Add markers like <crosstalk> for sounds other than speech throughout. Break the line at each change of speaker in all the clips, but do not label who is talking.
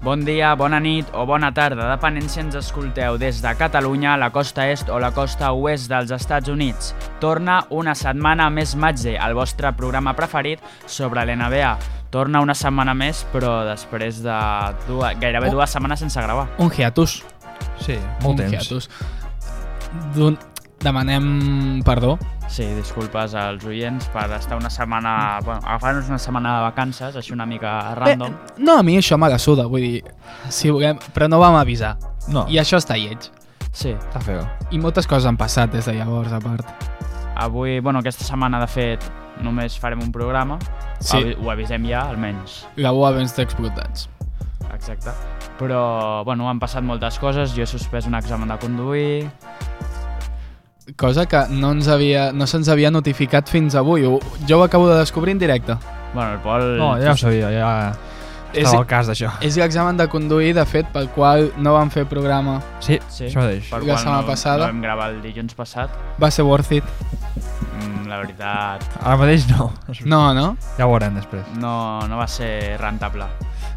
Bon dia, bona nit o bona tarda, depenent si ens escolteu des de Catalunya, la costa est o la costa oest dels Estats Units. Torna una setmana més Matze, el vostre programa preferit sobre l'NBA. Torna una setmana més, però després de dues, gairebé
Oh.
dues setmanes sense gravar.
Un hiatus.
Sí, molt
un
temps.
hiatus. D'un- Demanem perdó.
Sí, disculpes als oients per estar una setmana... Bueno, agafar-nos una setmana de vacances, així una mica random.
Bé, Eh, no, a mi això me la suda, vull dir, si volem, però no vam avisar.
No,
I això està lleig.
Sí.
està feo.
I moltes coses han passat des de llavors, a part.
Avui, bueno, aquesta setmana, de fet, només farem un programa. Avi- Ho avisem ja, almenys.
la UA ben està explotats.
Exacte. Però, bueno, han passat moltes coses. Jo he suspès un examen de conduir.
Cosa que no ens havia, no se'ns havia notificat fins avui. Ho- Jo ho acabo de descobrir en directe.
Bueno, el Pol...
No, ja ho sabia, ja
És,
estava al cas d'això.
és l'examen de conduir, de fet, pel qual no vam fer programa.
Sí,
Sí.
això mateix.
Per
La
qual
setmana
no,
passada.
No vam gravar el dilluns passat.
Va ser worth it.
Mm, la veritat,
Ara mateix no. <laughs>
No, no?
Ja ho veurem després.
no, no va ser rentable.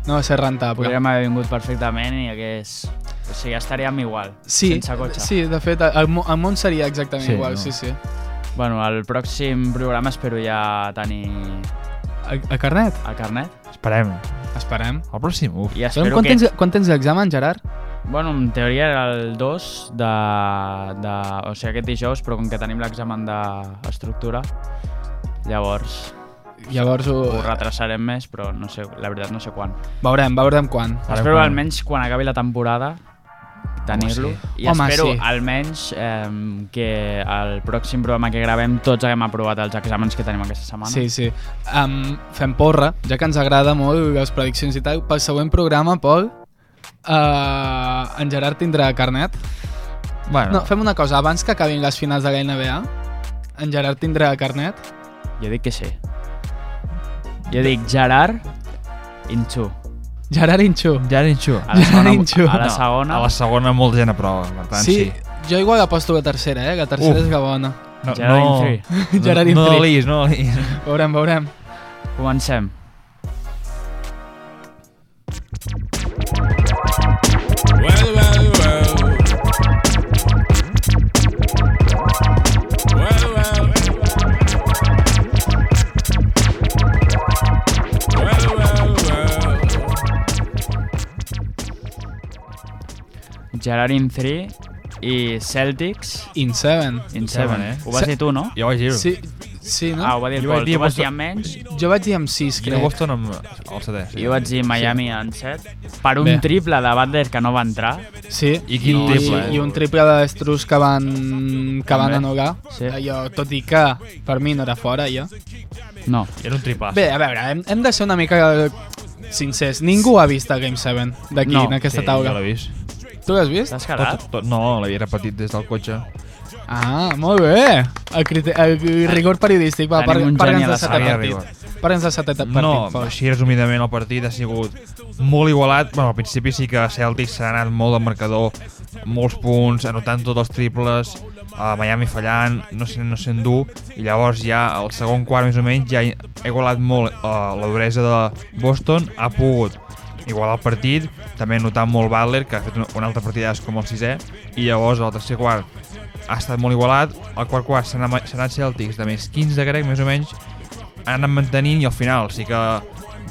No va ser rentable.
Podríem haver vingut perfectament i hagués... O sigui, ja estaríem igual,
Sí,
sense cotxe.
sí, de fet, el, mo- el món seria exactament
Sí,
igual,
no.
sí, sí.
Bueno, el pròxim programa espero ja tenir
A, a carnet?
el carnet.
Esperem.
Esperem.
El pròxim, uf.
I
Sabem
espero
quan,
que...
tens, quan tens l'examen, Gerard?
Bueno, en teoria era el 2 de, de... O sigui, aquest dijous, però com que tenim l'examen d'estructura, llavors
Llavors ho...
ho retrasarem més, però no sé, la veritat no sé quan.
Veurem, veurem quan.
Ara
espero
quan-
almenys quan acabi la temporada tenir-lo i
Home,
espero
sí.
almenys eh, que el pròxim programa que gravem tots haguem aprovat els exàmens que tenim aquesta setmana.
Sí, sí. Um, fem porra, ja que ens agrada molt les prediccions i tal. Pel següent programa, Pol, uh, en Gerard tindrà carnet.
Bueno,
No, fem una cosa, abans que acabin les finals de la NBA, en Gerard tindrà carnet.
Jo dic que sí. Jo dic Gerard Inxu.
Gerard Inxu.
ja n'hi xu.
A la
<laughs>
Inxu.
segona, a la
No,
segona
A la segona molta gent a prova, per tant, sí.
jo igual aposto la tercera, eh? La tercera
Uf.
és la bona.
No,
Gerard
no,
Intrigue.
no,
Gerard
no
Intrigue.
delis, no delis.
Veurem, veurem.
comencem.
Well, well, well. Well, well. Well, well, well.
Gerard in 3 i Celtics
In seven.
in
Seven,
7.
eh?
Ho vas dir tu, no?
Jo vaig dir-ho.
Sí, sí no?
Ah, ho va dir el
Jo vaig
Pol.
dir
Tu vas dir
Boston-
amb menys
Jo vaig dir amb sis,
Jo
crec.
Boston amb el setè. sí.
i jo vaig dir Miami en 7 per un
Bé.
triple de Butler que no va entrar.
Sí.
I quin
I,
triple, eh?
I un triple d'estrus que van, que van
També.
anul·lar.
Sí.
Allò, tot i que per mi no era fora, jo.
Ah,
No.
Era un tripàs.
Bé, a veure, hem, hem de ser una mica sincers. Ningú ha vist el Game 7 d'aquí,
No,
en aquesta
sí,
taula.
Jo l'he vist.
Tu l'has vist?
T'has quedat?
Tot, tot, no, l'havia repetit des del cotxe.
Ah, molt bé. El, criter, el rigor periodístic. Va,
Tenim un geni a
para'ns
la
del setè
sala.
partit. Para'ns del setè partit.
No,
Pol.
així resumidament el partit ha sigut molt igualat. Bueno, al principi sí que Celtics s'ha anat molt al marcador, molts punts, anotant tots els triples, a Miami fallant, no sent, no sent dur, i llavors ja al segon quart més o menys ja ha igualat molt eh, la duresa de Boston, ha pogut igualar el partit, també notant molt Butler, que ha fet una, una altra partida com el sisè, i llavors al tercer quart ha estat molt igualat, al quart quart s'ha anat, s'ha anat Celtics de més 15 crec, més o menys, han anat mantenint i al final sí que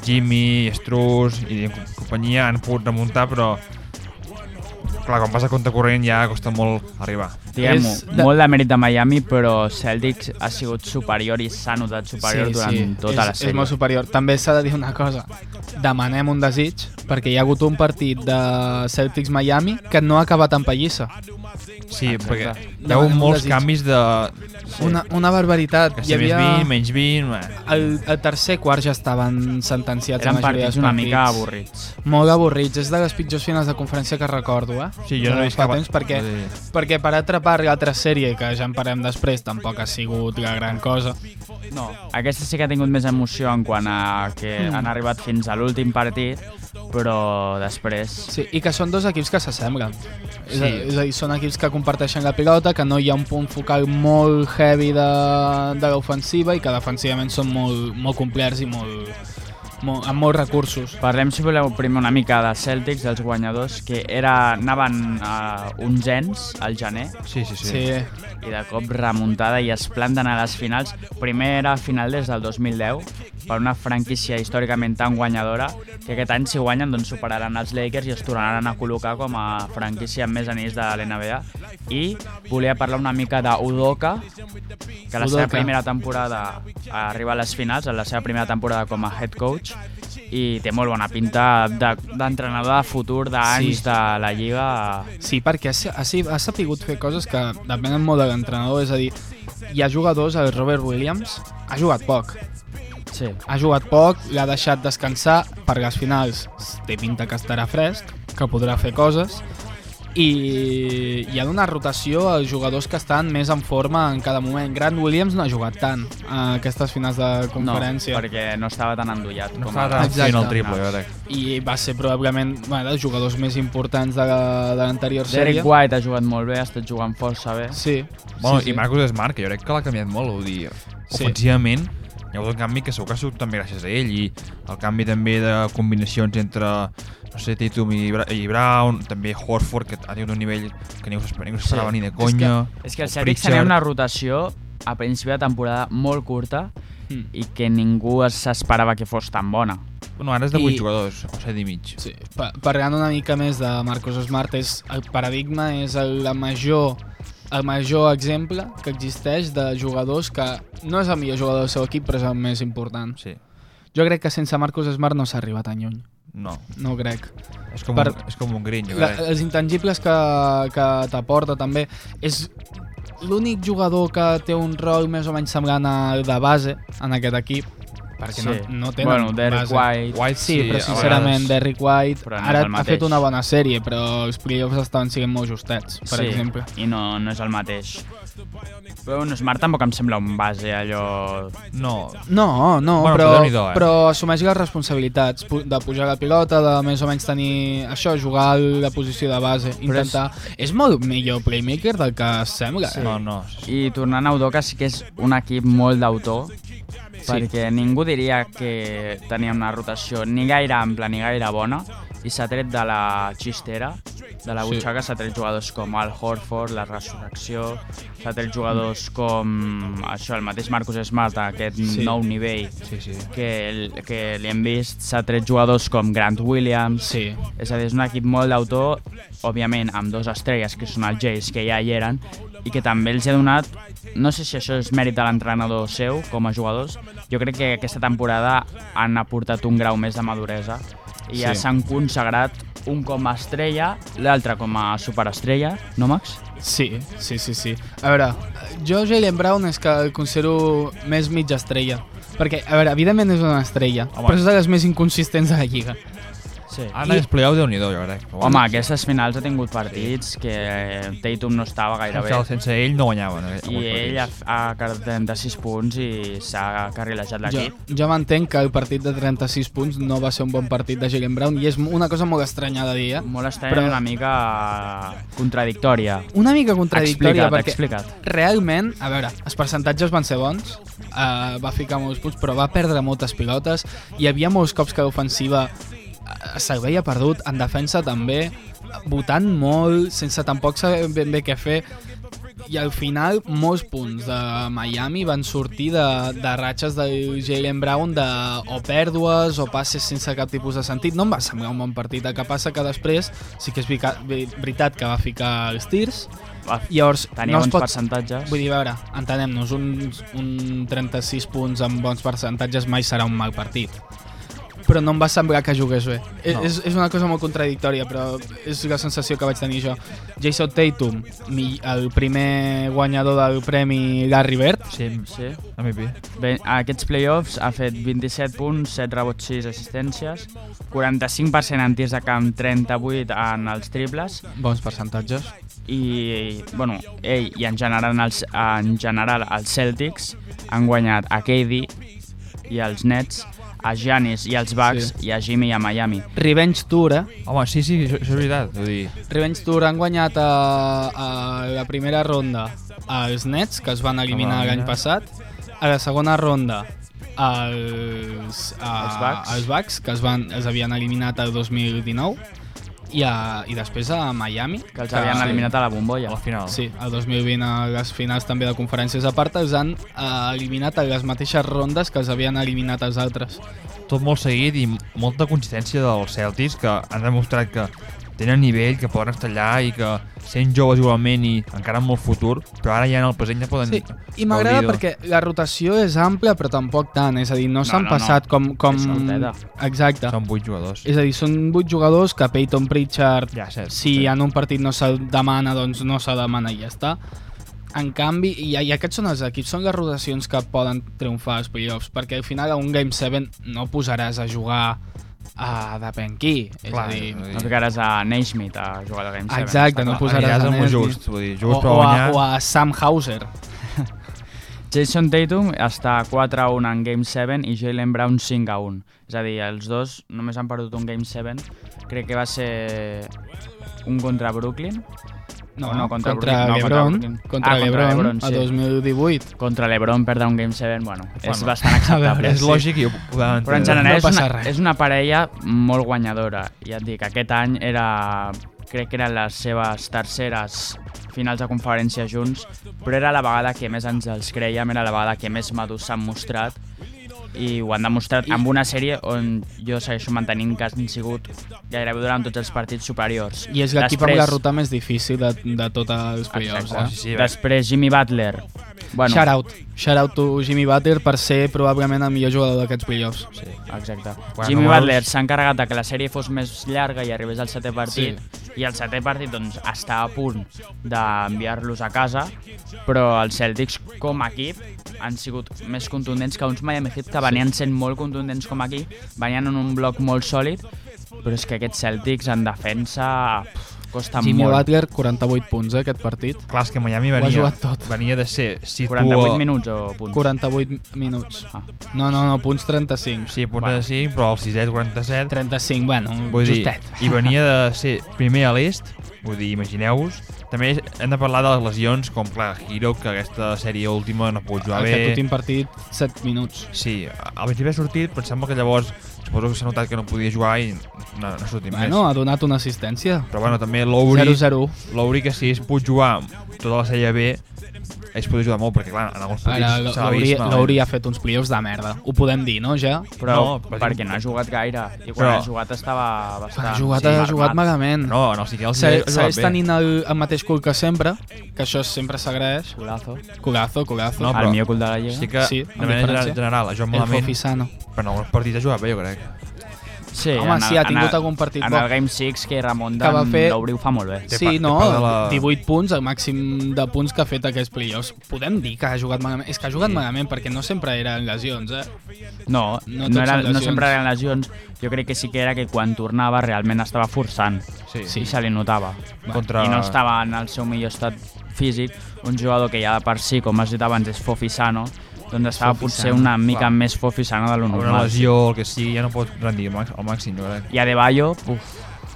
Jimmy, Struz i companyia han pogut remuntar, però clar, quan vas a compte corrent ja costa molt arribar.
Diguem-ho,
És de-
molt de mèrit de Miami, però Celtics ha sigut superior i s'ha notat superior durant tota
és,
la sèrie.
És molt superior. També s'ha de dir una cosa. Demanem un desig, perquè hi ha hagut un partit de Celtics-Miami que no ha acabat en pallissa.
Sí,
Exacte.
perquè hi ha
Demanem
hagut
un
molts
desig.
canvis de...
Una, una barbaritat.
Que
Hi
si més
havia...
20, menys 20... eh.
El, el tercer quart ja estaven sentenciats
Eren
la majoria
partits
dels
una mica
partits.
avorrits.
Molt avorrits, és de les pitjors finals de conferència que recordo, eh?
Sí, jo no he
De
vist
fa
cap...
Temps, perquè,
Vull dir,
perquè per altra part l'altra sèrie, que ja en parlem després, tampoc ha sigut la gran cosa.
No, aquesta sí que ha tingut més emoció en quant a que
Hmm.
han arribat fins a l'últim partit, però després...
Sí, i que són dos equips que s'assemblen. Sí. És, a,
Sí.
és a dir, són equips que comparteixen la pilota, que no hi ha un punt focal molt heavy de, de l'ofensiva i que defensivament són molt, molt complets i molt, mo amb molts recursos.
Parlem, si voleu, primer una mica de Celtics, dels guanyadors, que era, anaven a onzens al gener,
Sí, sí, sí.
Sí, eh?
i de cop remuntada i es planten a les finals. Primera final des del 2010 per una franquícia històricament tan guanyadora que aquest any si guanyen doncs superaran els Lakers i es tornaran a col·locar com a franquícia amb més anells de l'NBA. I volia parlar una mica d'Udoka, que la seva
Udoka.
primera temporada arriba a les finals, a la seva primera temporada com a head coach, i té molt bona pinta de- d'entrenador de, futur d'anys
Sí.
de la Lliga.
sí perquè ha, sa- ha, si- ha sapigut fer coses que depenen molt de l'entrenador, és a dir, hi ha jugadors, el Robert Williams ha jugat poc,
Sí.
ha jugat poc, l'ha deixat descansar per les finals. Té pinta que estarà fresc, que podrà fer coses i, i ha donat rotació als jugadors que estan més en forma en cada moment. Grant Williams no ha jugat tant a aquestes finals de conferència
No, perquè no estava tan endollat.
No
com
estava
a-
tan fent el
Exacte.
triple, jo crec.
i va ser probablement bueno, dels jugadors més importants de, la- de l'anterior sèrie.
Derek White ha jugat molt bé, ha estat jugant força bé.
Sí.
Bueno,
sí, sí.
I Marcus Smart, que jo crec que l'ha canviat molt, vull dir,
Sí.
ofensivament, hi ha hagut un canvi que segur que ha sigut també gràcies a ell i el canvi també de combinacions entre no sé, Tatum i, Bra i Brown, també Horford, que ha tingut un nivell que ningú s'esper- ningú s'esperava sí. ni de conya.
És que
o
el Celtics
Pritchard.
tenia una rotació a principi de temporada molt curta
Mm.
i que ningú es- s'esperava que fos tan bona.
Bueno, ara és de 8
I-
jugadors, o 7 i mig.
Sí, pa parlant una mica més de Marcos Smart, és el paradigma és el, la major, el major exemple que existeix de jugadors que no és el millor jugador del seu equip, però és el més important.
Sí.
Jo crec que sense Marcos Smart no s'ha arribat tan lluny.
No,
No ho crec.
és com,
Per-
un, és com un eh. green, jo
La,
crec.
els intangibles que, que t'aporta també és l'únic jugador que té un rol més o menys semblant al de base en aquest equip perquè no, no tenen
bueno, Derek
base.
White...
White,
Sí, però
a
sincerament,
vegades-
Derrick White
Però no és
ara
el
ha
mateix.
fet una bona sèrie, però els playoffs estaven sent molt justets, per
sí,
exemple.
i no, no és el mateix. Però un Smart tampoc em sembla un base allò...
No,
No, no,
Bueno,
però,
però
però,
Déu-n'hi-do, eh?
assumeix les responsabilitats pu- de pujar la pilota, de més o menys tenir això, jugar a la posició de base, intentar... És... és molt millor playmaker del que sembla. eh?
no, no. sí, sí.
I tornant a Udoca sí que és un equip molt d'autor, perquè ningú diria que tenia una rotació ni gaire ampla ni gaire bona, i s'ha tret de la xistera, de la
Sí.
butxaca, s'ha tret jugadors com Al Horford, la Resurrecció, s'ha tret jugadors com això, el mateix Marcus Smart, a aquest
Sí.
nou nivell
Sí, sí.
que, que li hem vist, s'ha tret jugadors com Grant Williams,
Sí,
és a dir, és un equip molt d'autor, òbviament amb dos estrelles, que són els Jays, que ja hi eren, i que també els ha donat, no sé si això és mèrit de l'entrenador seu com a jugadors, jo crec que aquesta temporada han aportat un grau més de maduresa i ja
Sí.
s'han consagrat un com a estrella, l'altre com a superestrella, no Max?
sí, sí, sí, sí. A veure, jo Jalen Brown és que el considero més mitja estrella. Perquè, a veure, evidentment és una estrella,
Home.
Home. però és de les més inconsistents de la lliga.
Sí.
Ara I... Ah, és playoff, Déu-n'hi-do, jo crec. Però
Home,
bueno,
aquestes finals ha tingut partits que Tatum no estava gaire bé.
sense ell no guanyaven. eh,
I
alguns
ell ha,
partits.
ha quedat 36 punts i s'ha carrilejat
Jo,
l'equip.
jo m'entenc que el partit de 36 punts no va ser un bon partit de Jalen Brown i és una cosa molt estranya de dir, eh?
Molt estrany,
Però-
però... una mica contradictòria.
Una mica contradictòria
Explica't,
perquè
explica't.
realment, a veure, els percentatges van ser bons, uh, va ficar molts punts, però va perdre moltes pilotes, hi havia molts cops que l'ofensiva eh, se'l veia perdut, en defensa també, votant molt, sense tampoc saber ben bé què fer, i al final molts punts de Miami van sortir de, de ratxes de Jalen Brown de o pèrdues o passes sense cap tipus de sentit. No em va semblar un bon partit. El que passa que després sí que és vica- ve- veritat que va ficar els tirs.
Va,
Llavors,
Tenia
no
no
es
bons
pot...
percentatges.
Vull dir, a veure, entenem-nos, un, un 36 punts amb bons percentatges mai serà un mal partit. Però no em va semblar que jugués bé. No. És, és una cosa molt contradictòria, però és la sensació que vaig tenir jo. Jason Tatum, mi, el primer guanyador del premi Larry Bird,
Sí,
Sí.
MVP.
Bé, a aquests playoffs ha fet 27 punts, 7 rebots, 6 assistències, 45% en tirs de camp, 38 en els triples
bons percentatges.
i, bueno, ell i en general els, en general els Celtics han guanyat a KD i als Nets, a Giannis i als Bucks i a Jimmy i a Miami.
Revenge Tour, eh?
Home, sí, sí, això, això és veritat. Vull dir,
Revenge Tour han guanyat a, a la primera ronda als Nets, que es van eliminar
Home,
l'any
mira.
passat, a la segona ronda els, eh,
Els Bucks.
els Bucks, que es, van, es havien eliminat el 2019, i, a, i després a Miami.
que els havien
sí.
eliminat a la bombolla.
a la final.
Sí, el 2020 a les finals també de conferències a part els han eh, eliminat a les mateixes rondes que els havien eliminat els altres.
Tot molt seguit i molta consistència dels Celtics que han demostrat que tenen nivell, que poden estallar i que sent joves igualment i encara amb molt futur, però ara ja en el present ja poden...
Sí, i m'agrada
gaudir-ho.
perquè la rotació és ampla però tampoc tant, és a dir, no, s'han
no, no.
passat com... com...
És soltera.
Exacte.
Són 8 jugadors.
És a dir, són vuit jugadors que Peyton Pritchard,
Ja, cert.
si
Sí.
en un partit no se'l demana, doncs no se'l demana i ja està. En canvi, i, i aquests són els equips, són les rotacions que poden triomfar als playoffs, perquè al final a un Game 7 no posaràs a jugar a depèn qui. És
Clar,
a dir,
No ficaràs a Naismith a jugar al Game 7.
Exacte, no posaràs
Ah, aniràs amb
Nets
un
ni-
just, vull dir, just
o,
per
o, a,
guanyar.
o a Sam Hauser.
Jason Tatum està 4 a 1 en Game 7 i Jalen Brown 5 a 1. És a dir, els dos només han perdut un Game 7. Crec que va ser un contra Brooklyn. No, no, contra
contra
Brooklyn, no, contra
LeBron,
Brooklyn.
contra,
Ah, contra
LeBron,
LeBron,
a
sí.
2018.
Contra l'Ebron perdre un Game 7, bueno, és
Bueno,
<laughs>
bastant
a veure,
acceptable.
És
sí.
lògic i ho podem entendre.
Però en general
No
és,
passa
una,
res.
és una parella molt guanyadora. Ja et dic, aquest any era crec que eren les seves terceres finals de conferència junts, però era la vegada que més ens els creiem, era la vegada que més madurs s'han mostrat i ho han demostrat amb una sèrie on jo segueixo mantenint que han sigut gairebé durant tots els partits superiors.
I és l'equip amb
Després-
la ruta més difícil de, de tots els playoffs.
Exacte.
Eh?
sí, sí, bé.
Després Jimmy Butler. Bueno,
Shout out. Shout out to Jimmy Butler per ser probablement el millor jugador d'aquests playoffs.
Sí.
Exacte.
Quan
Jimmy
no
no
veus-
Butler s'ha encarregat de que la sèrie fos més llarga i arribés al setè partit, sí. i el setè partit doncs, està a punt d'enviar-los a casa, però els Celtics com a equip han sigut més contundents que uns Miami Heat que venien sent molt contundents com aquí, venien en un bloc molt sòlid, però és que aquests Celtics en defensa pff, costa
Jimmy
molt.
Butler, 48 punts, eh, aquest partit.
Clar, és que Miami
Ho ha
venia,
jugat tot.
venia de ser... Si
48 minuts o punts?
48 minuts.
Ah.
No, no, no, punts 35.
Sí, punts de 5, però el 6 47.
35, bueno,
Vull dir,
justet.
i venia de ser primer a l'est, vull dir, imagineu-vos. També hem de parlar de les lesions, com clar, Hero, que aquesta sèrie última no ha pogut jugar
Aquest
bé.
últim partit, 7 minuts.
Sí, al principi ha sortit, però em sembla que llavors suposo que s'ha notat que no podia jugar i no, no ha sortit
Bueno, ha donat una assistència.
més. Però bueno, també l'Ouri,
0-0.
l'Ouri que si es pot jugar tota la sèrie B, ells podia jugar molt, perquè clar, en alguns
Ara,
partits s'ha
l'Auri
vist malament.
l'Auri ha fet uns playoffs de merda. Ho podem dir, no, ja?
Però
No,
no,
per
perquè
exemple.
no ha jugat gaire, i quan
Però-
ha jugat estava bastant...
Ha jugat, ha jugat
armat.
malament.
No, no, sí que els
Se- Segueix tenint el, el mateix cul que sempre, que això sempre s'agraeix.
Culazo.
Culazo, culazo.
No,
El
però-
millor cul de la Lliga.
Sí que,
Sí,
sí,
amb
de manera
diferència.
general, ha jugat
el
malament,
Fofisano.
però en alguns partits ha jugat bé, jo crec.
Sí,
Home,
en el-
sí, ha tingut
en el,
algun partit
en
bo.
el Game 6 que remunta
Que va fer-
l'Obriu fa molt bé.
Té
Sí,
pa-
no,
té pa de la-
18 punts, el màxim de punts que ha fet aquests playoffs. Podem dir que ha jugat malament. És que ha jugat malament perquè no sempre eren lesions, eh?
No,
No
no,
tot
no, era,
són
no
lesions.
sempre eren lesions. Jo crec que sí que era que quan tornava realment estava forçant
Sí,
i se li notava.
Contra...
I no estava en el seu millor estat físic. Un jugador que ja de per si, com has dit abans, és Fofisano, doncs estava potser una mica
clar.
més Fofisano de lo
Una
normal.
lesió, el que sigui, ja no pot rendir al màxim, al màxim jo crec.
I a De Bayo, uf,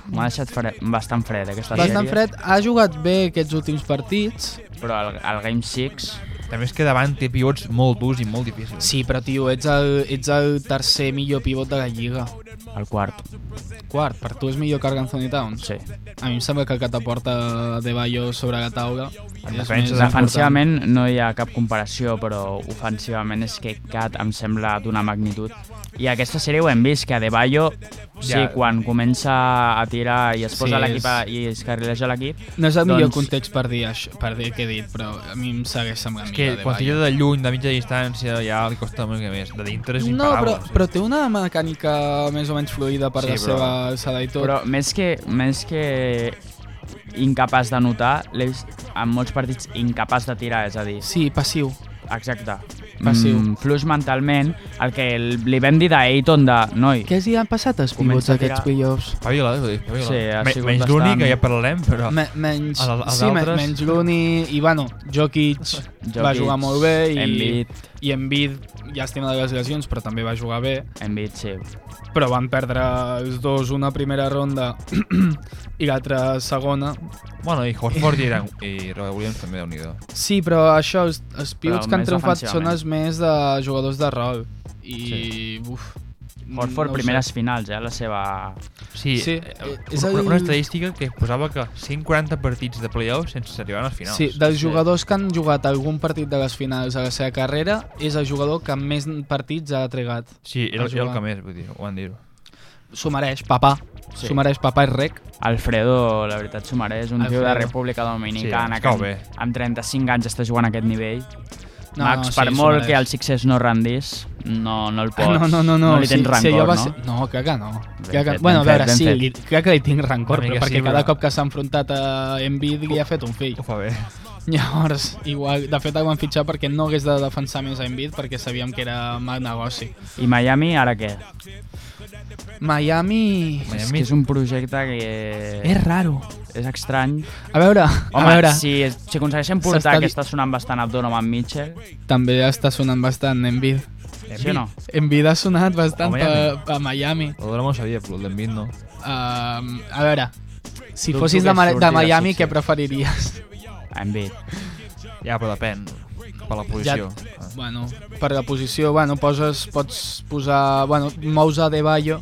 m'ha deixat fre bastant fred aquesta
Bastant
sèrie.
fred. Ha jugat bé aquests últims partits.
Però el, el Game 6
També és que davant té pivots molt durs i molt difícils.
Sí, però tio, ets el, ets el tercer millor pivot de la Lliga.
el quart,
Quart, per tu és millor que Arganzoni Towns?
sí.
A mi em sembla que el que t'aporta De Bayo sobre la taula és
defensa,
més important.
Defensivament no hi ha cap comparació, però ofensivament és que Cat em sembla d'una magnitud. I aquesta sèrie ho hem vist, que Adebayo, sí,
Ja.
quan comença a tirar i es
Sí,
posa
és-
a l'equip a- i es carrileja l'equip,
No és el millor
Doncs-
context per dir, això, per dir que he dit, però a mi em segueix semblant
És que
millor
quan
De
tira
Bayo.
de lluny, de mitja distància, ja li costa una mica més. De dintre és
No, però,
imparable.
però té una mecànica més o menys fluida per
Sí,
sí, la
però-
seva alçada i tot.
però més que, més que incapaç de notar, l'he vist en molts partits incapaç de tirar, és a dir,
Sí, passiu.
exacte. Mm,
Passiu.
fluix mentalment, el que li vam dir d'Eiton de, noi,
Què els hi han passat als pivots
Comença a tirar.
aquests playoffs?
Espavila, eh, vull dir, espavila.
Sí, ha
Me-
sigut
Menys
bastant-
l'únic, que ja parlarem, però...
Me, menys,
El- els
sí, me,
altres?
menys Looney i, bueno, Jokic, Jokic va
Jokic,
jugar molt bé i,
Embiid,
i Embiid, llàstima de les lesions, però també va jugar bé.
Embiid, sí,
però van perdre els dos una primera ronda <clears throat> i l'altra segona.
Bueno, i Horsford i, Aaron- i Robert Williams també, déu nhi
Sí, però això, els, els pivots
Però
que han
més
triomfat són
defensivament.
els més de jugadors de rol. i...
Sí.
Uf,
Horford,
Mm, no ho sé.
primeres finals, eh, la seva...
Sí,
Sí,
sí
eh, és
és una,
el-
una estadística que posava que 140 partits de playoff sense arribar a les finals.
Sí, dels jugadors que han jugat algun partit de les finals a la seva carrera, és el jugador que més partits ha tregat.
Sí, era,
Va
era el
jugar.
que més, vull dir, ho van dir.
S'ho mereix, papà.
Sí.
S'ho mereix, papà i rec.
Alfredo, la veritat, s'ho mereix, un tio de
Alfredo.
República Dominicana
Sí, ens
que
cau
amb-
bé.
amb 35 anys està jugant a aquest nivell.
Mm. No,
Max,
no, sí,
per
s'ho
molt
mereix.
que el Sixers no rendís, no, no el
Ah,
pots...
<laughs> No, no, no, no.
li tens rancor,
allò
no?
Ser... No, clar que no.
Ben
Clar que...
fet,
bueno, a
ben fet,
veure,
ben
sí,
fet.
li... clar que li tinc rancor,
Una
però
mica
perquè
sí,
cada
però-
cop que s'ha enfrontat a Embiid li ha fet un fill.
Ho fa bé.
Llavors, igual, de fet el van fitxar perquè no hagués de defensar més a Embiid perquè sabíem que era mal negoci.
I Miami, ara què?
Miami...
És
Miami,
que és un projecte que
És raro.
és estrany.
A veure,
Home,
a veure,
si, si aconsegueixen portar
S'està
que
di-
està sonant bastant a Donovan Mitchell,
també està sonant bastant Embiid.
sí o no?
Embiid ha sonat bastant
A
a
Miami.
Miami. A, Miami.
El Donovan ho sabia, però el d'Envit no.
Um, a veure, si
Dubto
fossis
que
de, Ma-
surti
de
de
Miami, què
Sixers.
preferiries?
Embiid.
Ja, però depèn. Per la posició. Ja...
Bueno, per la posició, bueno, poses, pots posar... Bueno, mous a De Bayo.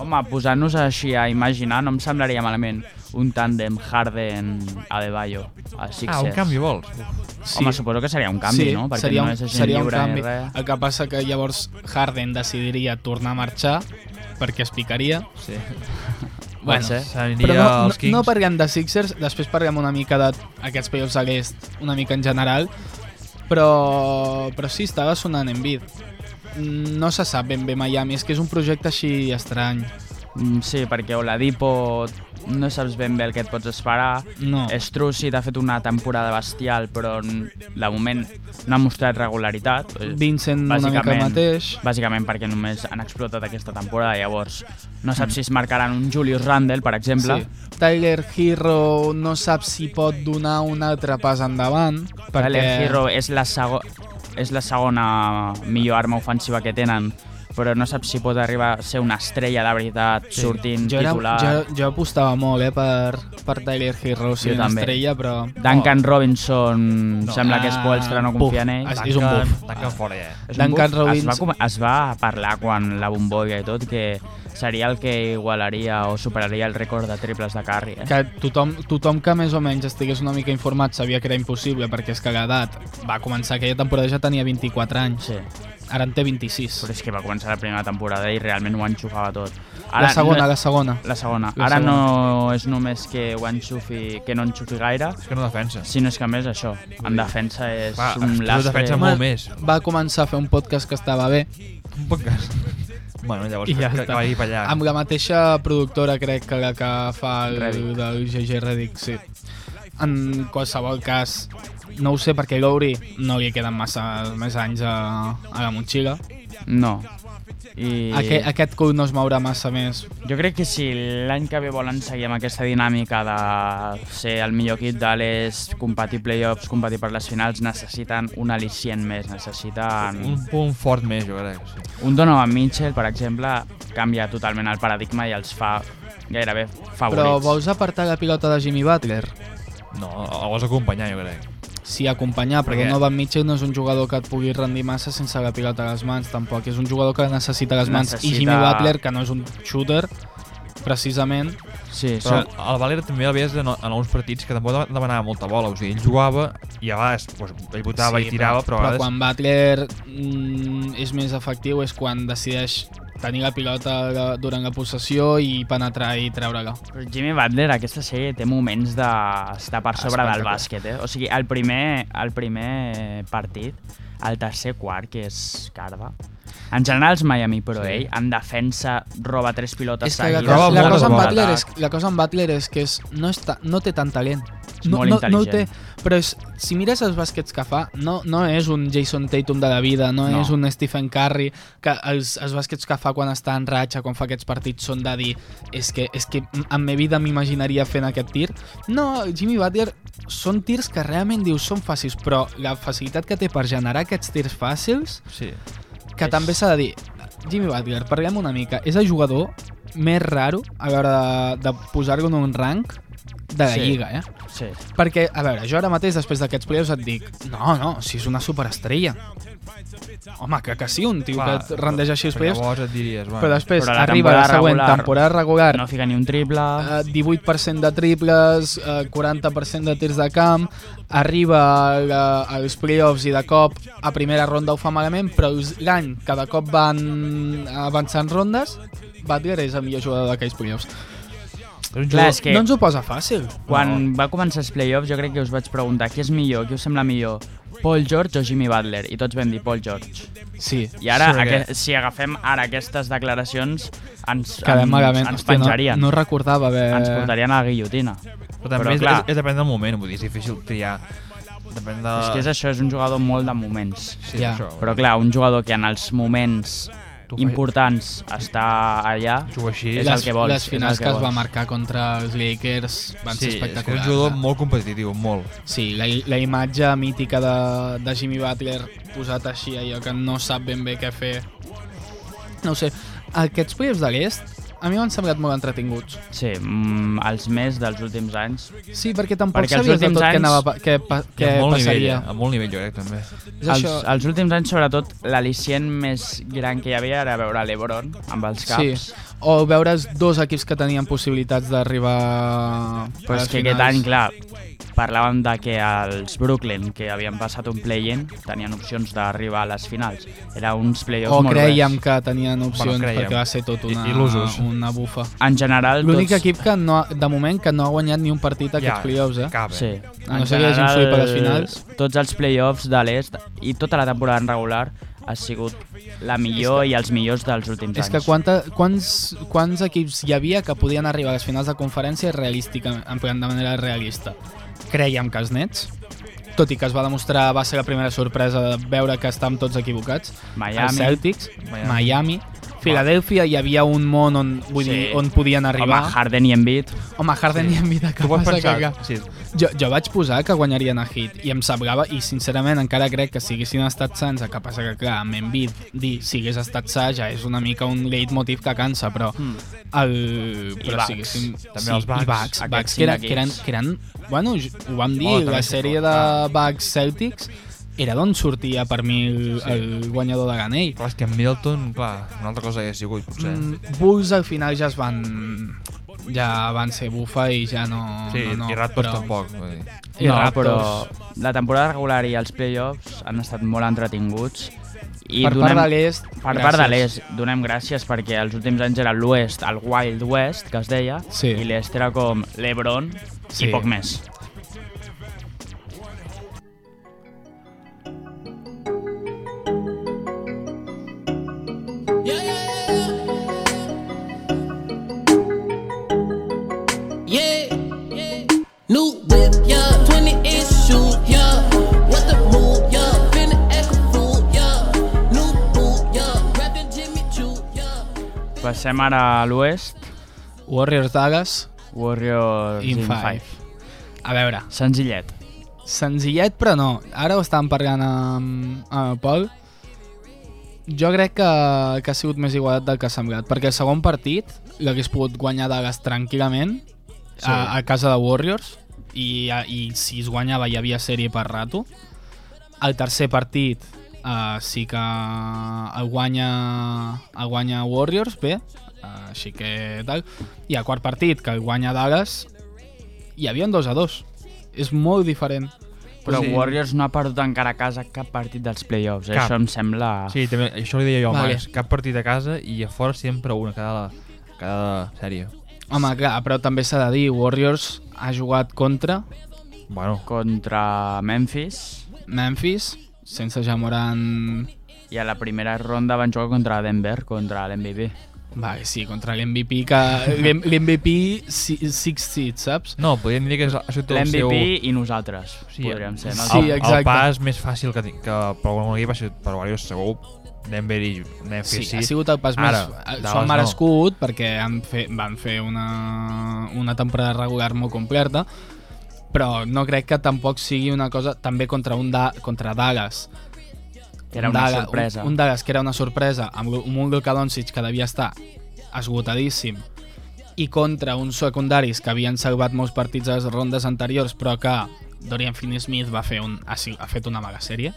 Home, posant-nos així a imaginar, no em semblaria malament un tàndem Harden-Adebayo a Sixers.
Ah, un canvi vols? Uf.
Sí. Home, suposo que seria un canvi, no? Perquè
seria un,
no és agent
seria un
lliure
canvi.
ni res.
El que passa que llavors Harden decidiria tornar a marxar perquè es picaria.
Sí.
Bueno,
Bueno,
ser.
S'aniria
però no,
als
no,
Kings.
no parlem de Sixers, després parlem una mica d'aquests playoffs de l'est, una mica en general, però, però sí, estava sonant en vid. No se sap ben bé Miami, és que és un projecte així estrany.
Mm, Sí, perquè Oladipo no saps ben bé el que et pots esperar.
No, és...
Strussi t'ha fet una temporada bestial, però mm, de moment no ha mostrat regularitat. Eh,
Vincent una mica el
Bàsicament-
mateix.
Bàsicament perquè només han explotat aquesta temporada, llavors no saps si es marcaran un Julius Randle, per exemple.
Sí. Tyler Hero no sap si pot donar un altre pas endavant.
perquè...
Perquè...
Hero és la, sego... és la segona millor arma ofensiva que tenen, però no saps si pot arribar a ser una estrella de veritat, sí. sortint
jo, era,
titular.
jo, jo apostava molt eh, per, per Tyler Hero,
Jo
sí, una
també.
estrella, però...
Duncan
Oh.
Robinson,
No.
sembla que és
Ah,
Spoelstra, no
buf.
confia en ell.
Ah, És un
Tanquen-
buf.
Tanquen fora, ja.
És un
Duncan
buf. es va,
Robinson-
com- es va parlar quan la bombolla i tot que seria el que igualaria o superaria el rècord de triples de Curry. Eh?
que tothom, tothom que més o menys estigués una mica informat sabia que era impossible perquè és que l'edat va començar aquella temporada ja tenia 24 anys
Sí,
ara en té 26
però és que va començar la primera temporada i realment ho enxufava tot.
la segona,
no-
la segona
La segona.
La
Ara
segona.
no és només que ho enxufi, que no enxufi gaire,
És que no defensa.
sinó és que a més això, en defensa és
Va,
un
Strus
lastre.
defensa molt més.
va començar a fer un podcast que estava bé
Un podcast. Bueno, llavors
I
que,
ja
que,
està. Ah,
que vagi per allà.
amb la mateixa productora crec que la que fa el
Reddick.
del GG Reddick sí. en qualsevol cas no ho sé perquè Lowry no li queden massa més anys a, a la motxilla
No. I
Aque, aquest cul no es mourà massa més
jo crec que si l'any que ve volen seguir amb aquesta dinàmica de ser el millor equip de l'est, competir playoffs, competir per les finals, necessiten un al·licient més, necessiten...
Un punt fort més, jo crec. Sí.
Un Donovan Mitchell, per exemple, canvia totalment el paradigma i els fa gairebé favorits.
però vols apartar la pilota de Jimmy Butler?
No, el vols acompanyar, jo crec.
Sí, acompanyar, però
Perquè-
Donovan Mitchell no és un jugador que et pugui rendir massa sense la pilota a les mans, tampoc. És un jugador que necessita les mans.
Necessita-
I Jimmy Butler, que no és un shooter, precisament,
Sí,
Però
són...
el Valer també l'havies en, en alguns partits que tampoc demanava molta bola, o sigui, ell jugava i a vegades pues, ell votava
Sí,
i tirava, però, a
però
vegades...
quan Butler mm, és més efectiu és quan decideix tenir la pilota de- durant la possessió i penetrar i treure-la.
Però Jimmy Butler, aquesta sèrie té moments d'estar per sobre del
Espectacular.
bàsquet, eh? O sigui, el primer, el primer partit, el tercer quart, que és Carva, en general els Miami, però sí. ell en defensa roba tres pilotes
És que la,
seguides.
cosa,
Roba
la,
moltes
cosa amb
boles.
Butler és, la cosa amb Butler és que és, no, està, no té tant talent.
És
no,
molt
no, no el té,
intel·ligent.
però és, si mires els bàsquets que fa, no, no és un Jason Tatum de la vida, no,
No.
és un Stephen Curry, que els, els bàsquets que fa quan està en ratxa, quan fa aquests partits, són de dir és que, és que en mi vida m'imaginaria fent aquest tir. No, Jimmy Butler són tirs que realment dius són fàcils, però la facilitat que té per generar aquests tirs fàcils
Sí.
que
És-
també s'ha de dir, Jimmy Butler, parlem una mica, és el jugador més raro a l'hora de, de posar-lo en un rank de la
Sí.
Lliga, eh?
Sí.
Perquè, a veure, jo ara mateix, després d'aquests playoffs, et dic no, no, si és una superestrella. Home, que, que sí, un tio
Clar,
que et rendeix així els
però
playoffs,
Llavors et diries, bueno,
però després
Però la
arriba la
temporada
següent
regular-
temporada regular,
No fica ni un triple...
eh, 18% de triples, eh, 40% de tirs de camp, arriba al- eh, als playoffs i de cop a primera ronda ho fa malament, però us- l'any que de cop van avançant rondes, Butler és el millor jugador d'aquells playoffs.
és un
Clar,
jugador-
és que
No ens ho posa fàcil.
quan va començar els playoffs jo crec que us vaig preguntar qui és millor, qui us sembla millor, Paul George o Jimmy Butler? I tots vam dir Paul George.
Sí.
I ara,
Sí,
aqu
que-
si agafem ara aquestes declaracions, ens,
Quedem malament.
ens, ens
Hòstia,
penjarien.
no, no recordava haver...
Ens portarien a la guillotina.
Però també
Però,
és,
clar.
és, és depèn del moment, vull dir, és difícil triar. Depèn de...
És que és això, és un jugador molt de moments.
Sí,
Ja.
és això,
Però clar, un jugador que en els moments
Tu fas-
importants està allà...
Juga així.
és
les,
el que vols,
Les
és
finals
el que
que, es va
vols.
marcar contra els Lakers van
sí,
ser
és que és
espectaculars.
un jugador molt competitiu, molt.
Sí, la, la imatge mítica de, de Jimmy Butler posat així, allò que no sap ben bé què fer. No ho sé, aquests playoffs de l'est a mi m'han semblat molt entretinguts.
Sí, mm, els més dels últims anys.
Sí, perquè tampoc
Perquè els
sabies de
últims
tot què,
anys-
anava, pa- què, pa-
I
què
a molt
passaria.
Nivell, eh? a molt nivell, jo crec, també.
És
Els,
això,
els últims anys, sobretot, l'al·licient més gran que hi havia era veure l'Ebron amb els caps.
Sí. O veure's dos equips que tenien possibilitats d'arribar
Però és que aquest any, clar, parlàvem de que els Brooklyn, que havien passat un play-in, tenien opcions d'arribar a les finals. Era uns play-offs
O
molt
Oh, creiem
oberts.
que tenien opcions bueno,
creiem.
perquè va ser tot
I-
una,
il·lusos.
una bufa.
En general,
L'únic
tots...
equip que no, ha- de moment que no ha guanyat ni un partit aquests playoffs, eh?
Cap, eh?
Sí.
A no
En
ser que hagin
general,
fluït per les finals.
Tots els play-offs de l'est i tota la temporada en regular ha sigut la millor i els millors dels últims anys.
És que quanta, quants, quants equips hi havia que podien arribar a les finals de conferència realísticament, en plan, de manera realista? Creiem que els nets, tot i que es va demostrar, va ser la primera sorpresa de veure que estàvem tots equivocats, els
Miami,
Celtics,
Miami.
Miami, Miami Filadèlfia, hi havia un món on, vull
Sí.
dir, on podien
home,
arribar.
Harden i Embiid.
Home, Harden
Sí.
i Embiid
Tu
acaba
pots
de
pensar...
cagar.
Sí,
Jo, jo vaig posar que guanyarien a Heat i em semblava, i sincerament encara crec que si haguessin estat sants, el que passa que clar, amb Embiid dir si hagués estat sa ja és una mica un leitmotiv que cansa, però
Mm.
el... però
Bucks.
si haguéssim...
Hmm. També
sí,
els Bucks.
I Bucks,
Aquests
Bucks
cinc
que, eren, que, eren,
equips.
que eren... Bueno, j- ho vam dir,
Oh, també
la
sí,
sèrie de
clar.
Bucks Celtics era d'on sortia per mi el,
Sí.
el guanyador de l'anell.
clar, és que en Middleton, clar, una altra cosa hauria sigut, potser. Mm.
Mm, Bulls al final ja es van ja van ser bufa i ja no...
Sí,
no, no,
i Raptors
però-
tampoc. Vull dir.
I
no,
Raptors.
però la temporada regular i els play-offs han estat molt entretinguts. I
per
donem,
part de l'est...
per part de
gràcies.
l'est, donem gràcies perquè els últims anys era l'oest, el Wild West, que es deia,
Sí.
i l'est era com l'Ebron
Sí.
i poc més.
Yeah. New whip, yeah. 20 inch shoe, yeah. What the move, yeah. Finna act a fool, yeah. New boot, yeah. Rapping Jimmy Choo, yeah.
Passem ara a l'oest,
Warriors Dallas
Warriors
in
in
5.
5.
A veure,
Senzillet.
senzillet però no. Ara ho estàvem parlant amb, amb el Pol. Jo crec que, que ha sigut més igualat del que ha semblat, perquè el segon partit l'hagués pogut guanyar Dallas tranquil·lament sí. a, a casa de Warriors i, a, i si es guanyava hi havia sèrie per rato. El tercer partit uh, sí que el guanya, el guanya Warriors, bé, uh, així que tal. I el quart partit, que el guanya Dallas, hi havia un 2 a 2. És molt diferent.
Però
Sí.
sí. Warriors no ha perdut encara a casa cap partit dels playoffs. Eh?
Cap.
Això em sembla...
Sí, també, això li deia jo,
Vale.
vale. Max, cap partit a casa i a fora sempre una cada, cada sèrie.
Home, clar, però també s'ha de dir, Warriors ha jugat contra
Bueno,
Contra Memphis
Memphis, sense Jamoran...
i a la primera ronda van jugar contra Denver, contra l'MVP.
Vale, sí, contra l'MVP que... L'MVP Six Seed, saps?
no, podríem dir que és, ha sigut el seu...
L'MVP i nosaltres, sí, podríem ser. No?
Sí,
el,
exacte.
El pas més fàcil que, tinc- que per algun equip ha sigut per Warriors segur, Denver i
Sí,
Memphis.
ha sigut el pas
Ara,
més... eh,
Dallas
Són
no.
merescut perquè han fe, van fer una, una temporada regular molt completa, però no crec que tampoc sigui una cosa... També contra, un da, contra Dallas.
Que era una
Dallas-
sorpresa.
Un, un Dallas que era una sorpresa, amb, un Luka Doncic que devia estar esgotadíssim i contra uns secundaris que havien salvat molts partits a les rondes anteriors però que Dorian Finney-Smith va fer un, ha, si- ha fet una mega sèrie.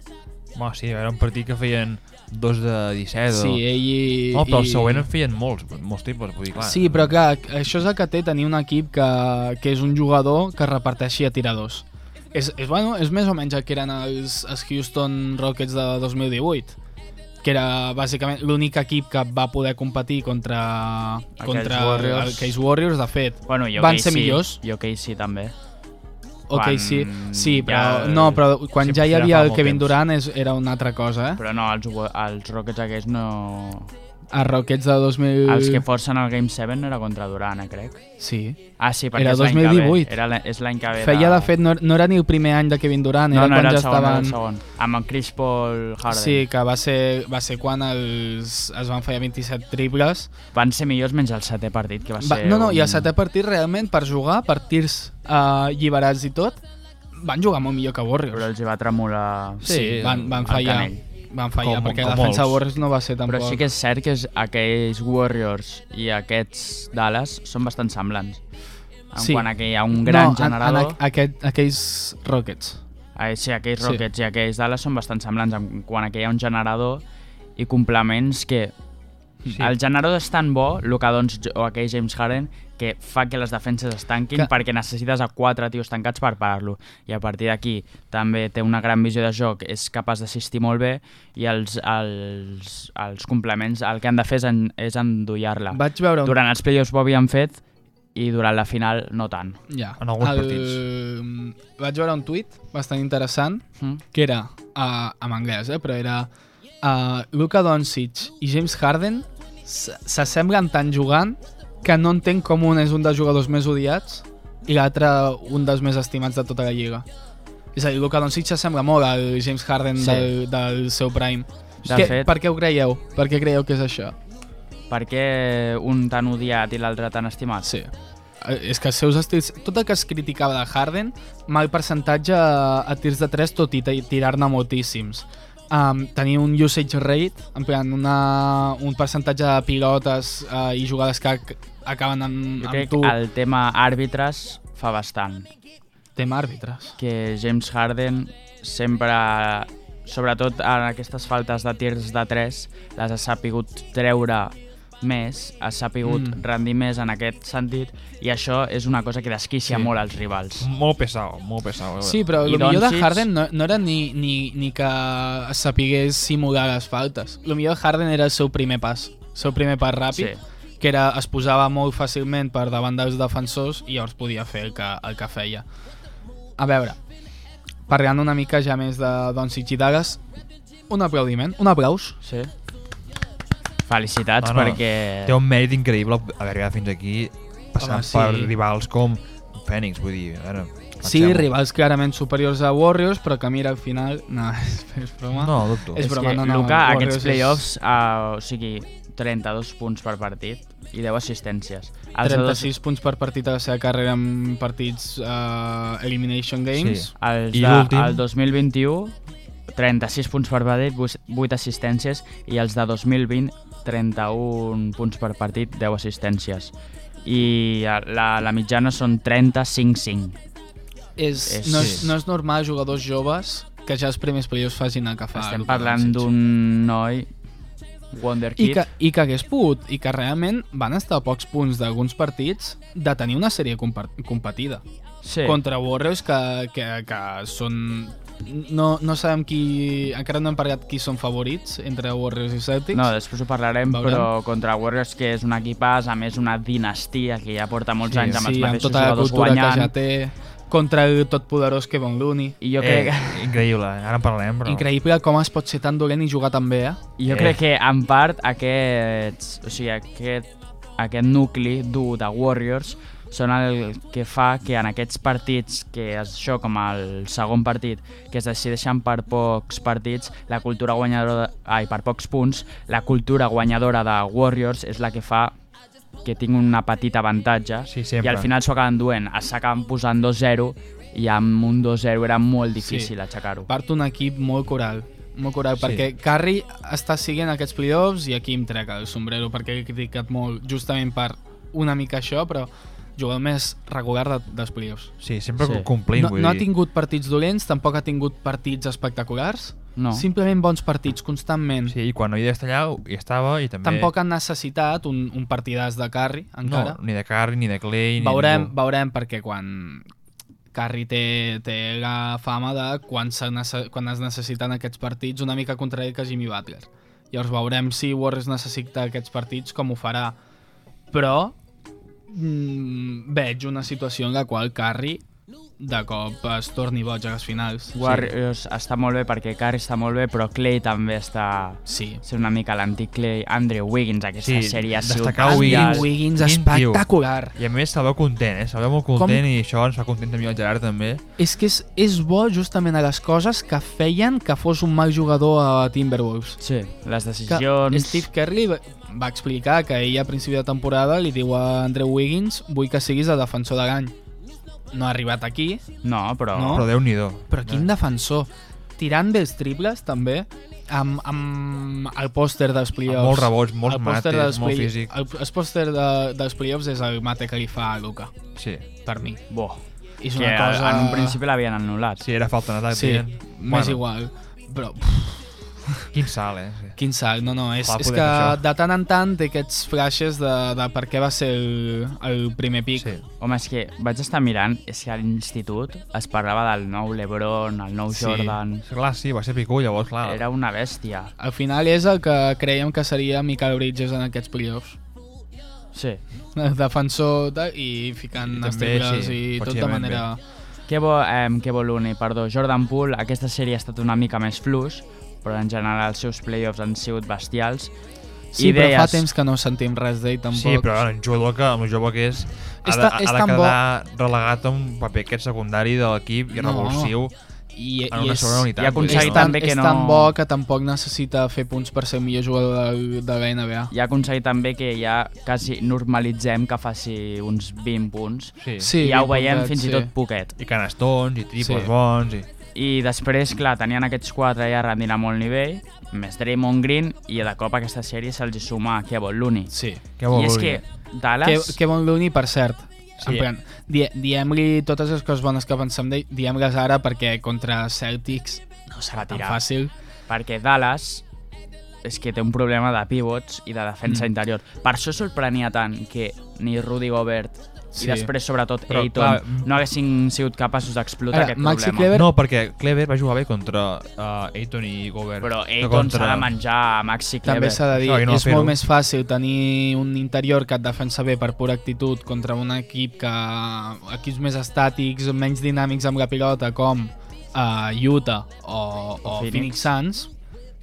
Home, sí, era un partit que feien dos de 17.
Sí,
o...
ell i...
No, però
i-
el següent en feien molts, molts tipus, vull dir, clar.
Sí, però que això és el que té tenir un equip que, que és un jugador que reparteixi a tiradors. És, és, bueno, és més o menys el que eren els, els Houston Rockets de 2018 que era bàsicament l'únic equip que va poder competir contra,
Aquells
contra
Warriors.
el Case Warriors, de fet.
Bueno, jo
van
que
ser
sí,
millors.
Jo que sí, també.
Ok,
quan
sí, sí, però,
ja- eh,
no, però quan
sí,
ja hi
ja
havia
fa
el
molt
Kevin
temps.
Durant és, era una altra cosa, eh?
Però no, els, wa- els Rockets aquests no...
Els Rockets de 2000...
Els que forcen el Game 7 no era contra Durant, eh, crec.
Sí.
Ah, sí, perquè
Era
és l'any que ve.
2018.
Era l'any- és l'any que ve.
Feia, de fet, no, no era ni el primer any de Kevin Durant,
No,
era
no,
quan
era el
ja
segon, era
estaven...
el segon. Amb el Chris Paul Harden.
Sí, que va ser, va ser quan els, es van fallar 27 triples.
Van ser millors menys el setè partit, que va,
Va,
ser...
no, no, i el
un-
setè partit realment per jugar, per tirs eh, alliberats i tot, van jugar molt millor que
Però
Warriors.
els hi va tremolar...
Sí, van, van
el
fallar.
canell.
Van fallar,
Com-
perquè
com
la defensa de
molts.
Warriors no va ser tampoc...
Però sí que és cert que és, aquells Warriors i aquests Dallas són bastant semblants. En
Sí.
sí. quant a que hi ha un gran
no, en-
generador...
En, aqu- aquest, aquells Rockets.
Eh, sí, aquells
Sí.
Rockets i aquells Dallas són bastant semblants en quan aquí hi ha un generador i complements que sí. el generador és tan bo, el que doncs, jo- o aquell James Harden, que fa que les defenses es tanquin
Que-
que... perquè necessites a quatre tios tancats per parar-lo. I a partir d'aquí també té una gran visió de joc, és capaç d'assistir molt bé i els, els, els complements el que han de fer és, en, és endollar-la.
Vaig veure un...
Durant els playoffs Bobby han fet i durant la final no tant.
Ja.
En alguns
partits. Vaig veure un tuit bastant interessant
Mm?
que era, uh, en anglès, eh, però era uh, Luka Doncic i James Harden s- s'assemblen tant jugant que no entenc com un és un dels jugadors més odiats i l'altre un dels més estimats de tota la lliga. És a dir, Luka Doncic s'assembla molt al James Harden
Sí.
sí. del, del seu prime.
De
que,
fet-
Per què ho creieu? Per què creieu que és això?
Per què un tan odiat i l'altre tan estimat?
Sí. Eh, És que els seus estils... Tot el que es criticava de Harden, mal percentatge a, a tirs de 3, tot i ti- tirar-ne moltíssims. Um, tenir un usage rate, en plan, una, un percentatge de pilotes uh, i jugades que ac- acaben amb,
Jo
amb
crec
tu.
que
El...
el tema àrbitres fa bastant.
Tema àrbitres.
Que James Harden sempre, sobretot en aquestes faltes de tirs de 3, les ha sapigut treure més, ha sapigut
Mm.
mm. rendir més en aquest sentit, i això és una cosa que desquicia
Sí.
sí. molt als rivals.
Molt pesado, molt pesado.
Sí, però
I
el millor de
Doncic?
Harden no, no era ni, ni, ni que sapigués simular les faltes. El millor de Harden era el seu primer pas. El seu primer pas ràpid.
Sí.
que era, es posava molt fàcilment per davant dels defensors i llavors podia fer el que, el que feia. A veure, parlant una mica ja més de Doncic i Dallas, un aplaudiment, un aplaus.
Sí. Felicitats
No, no,
perquè...
Té un mèrit increïble haver arribat fins aquí
Home,
passant Home,
sí.
sí. per rivals com Fènix, vull dir, a veure...
Sí,
pensem-ho.
rivals clarament superiors a Warriors, però que mira al final... <laughs> No, és, és broma.
No, dubto.
És-
És...
broma,
que,
no, no,
Luca,
Warriors
aquests
és-
playoffs, uh, o sigui, 32 punts per partit i 10 assistències. Els de dos-
36 punts per partit a la seva carrera en partits uh, Elimination Games.
Sí.
Els
I
de,
l'últim?
el 2021, 36 punts per partit, 8, 8 assistències, i els de 2020, 31 punts per partit, 10 assistències. I la, la mitjana són
Ah,
35-5.
És,
És-
no, és,
sí.
no és normal jugadors joves que ja els primers playoffs facin el que fa.
Estem
Luka
parlant
Doncic.
d'un noi, Wonder
I
Kid,
que, I que hagués pogut, i que realment van estar a pocs punts d'alguns partits de tenir una sèrie compar- competida.
sí,
Sí. Contra Warriors, que, que, que són... No, no sabem qui... Encara no hem parlat qui són favorits entre Warriors i Celtics.
No, després ho parlarem,
Veurem.
però contra Warriors, que és un equipàs, a més una dinastia que ja porta molts
Sí,
anys amb els
sí, amb
mateixos
tota la
jugadors
cultura
guanyant.
que ja té. Contra el totpoderós Kevin Looney.
I jo
Eh,
crec,
increïble, ara en parlarem, però...
Increïble com es pot ser tan dolent i jugar tan bé, eh?
Jo
Eh.
crec que en part aquests, o sigui, aquest, aquest nucli dur de Warriors són el que fa que en aquests partits, que és això com el segon partit, que es decideixen per pocs partits, la cultura guanyadora, ai, per pocs punts, la cultura guanyadora de Warriors és la que fa que tinguin una petita avantatge
Sí, sempre.
i al final s'ho acaben duent, s'acaben posant 2-0 i amb un 2-0 era molt difícil sí. aixecar-ho.
part un equip molt coral molt coral, sí.
Sí.
perquè Carri està seguint aquests playoffs i aquí em trec el sombrero perquè he criticat molt justament per una mica això, però jugador més regular de, dels playoffs.
Sí, sempre
Sí.
sí. complint,
No,
vull
no ha
dir.
tingut partits dolents, tampoc ha tingut partits espectaculars,
No.
simplement bons partits constantment.
Sí, i quan no hi estava allà, hi estava, i també...
Tampoc han necessitat un, un partidàs de carry, encara.
No, ni de Carri, ni de Clay, ni
veurem,
ningú.
veurem perquè quan Carri té, té la fama de quan, se nece- quan es necessiten aquests partits una mica contrari que Jimmy Butler. Llavors veurem si Warriors necessita aquests partits, com ho farà. Però mm, veig una situació en la qual Carri de cop es torni boig a les finals.
Warriors eh, està molt bé perquè Curry està molt bé, però Clay també està
Sí.
ser una mica l'antic Clay Andrew Wiggins, aquesta
Sí,
sèrie ha sigut
destacar
bestial.
Ah, Wiggins.
Wiggins
Quin tio.
espectacular.
I a més se'l veu content, eh? Se'l veu molt content Com? i això ens fa content també el Gerard també.
És que és, és bo justament a les coses que feien que fos un mal jugador a Timberwolves.
Sí, les
que
decisions...
Steve Kerr li va va explicar que ell a principi de temporada li diu a Andrew Wiggins vull que siguis el defensor de l'any. No ha arribat aquí,
No, però...
No?
Però Déu-n'hi-do.
però quin
Eh.
defensor. Tirant bé els triples, també, amb, amb el pòster dels playoffs.
Molts rebots, molts
El pòster
mates,
dels
molt
play-
físic.
El, el pòster de, dels playoffs és el mate que li fa a Luka,
Sí.
per mi.
Bo,
És
que
una cosa...
en un principi l'havien anul·lat.
Sí, era falta en atac.
Sí,
dient.
m'és igual. Però
Quin salt, eh? Sí.
Quin salt, no, no, és,
Va
és
poder
que
fer això.
de tant en tant té aquests flashes de, de per què va ser el, el primer pic.
sí.
Home, és que vaig estar mirant, és que a l'institut es parlava del nou LeBron, el nou Jordan...
Sí. Clar, sí, va ser Picú, llavors,
Ah.
clar.
Era una bèstia.
Al final és el que creiem que seria Michael Bridges en aquests playoffs. <laughs>
Sí.
Defensor de, i ficant
I
els
també,
triples
sí,
i tot de
pràcticament
manera...
Què vol, ehm, què vol Uni? Perdó, Jordan Poole, aquesta sèrie ha estat una mica més fluix, però en general els seus playoffs han sigut bestials.
Sí,
I
però fa
deies-
temps que no sentim res d'ell tampoc.
Sí, però un jugador que, amb el jove que és, ha
És
de,
ta-
ha
és
de
tan bo.
quedar relegat a un paper aquest secundari de l'equip i
No.
revulsiu
I,
en una segona unitat.
i ha
vull dir.
aconseguit
és tan,
també que
és
no-
tan bo que tampoc necessita fer punts per ser el millor jugador de, de la NBA.
I ha aconseguit també que ja quasi normalitzem que faci uns 20 punts.
Sí. sí.
Sí,
I ja ho
ben
veiem
puntat,
fins
sí.
i tot poquet.
I canastons, i triples
Sí.
sí. bons, i...
I després, clar, tenien aquests quatre ja rendint a molt nivell, més Draymond Green, i de cop aquesta sèrie se'ls hi suma a Kevon Looney.
Sí.
Què vol
I és
dir?
que
Que,
Dallas...
que bon Looney, per cert.
Sí.
Sí. En plan, die, diem-li totes les coses bones que pensem d'ell, diem-les ara perquè contra Celtics
no serà
tan
tirar,
fàcil.
perquè Dallas és que té un problema de pivots i de defensa mm. interior. Per això sorprenia tant que ni Rudy Gobert sí.
Sí.
i després, sobretot,
Però,
Aiton
clar,
no haguessin sigut capaços d'explotar
Ara,
aquest
Maxi
problema.
Kleber-
No, perquè Clever va jugar bé contra uh, Aiton i Gobert.
Però
no
Aiton
contra...
s'ha de menjar a Maxi
També
Kleber.
s'ha de dir,
Això, i no
és
fer-ho.
molt més fàcil tenir un interior que et defensa bé per pura actitud contra un equip que equips més estàtics, menys dinàmics amb la pilota com uh, Utah o, o
Phoenix.
Phoenix. Suns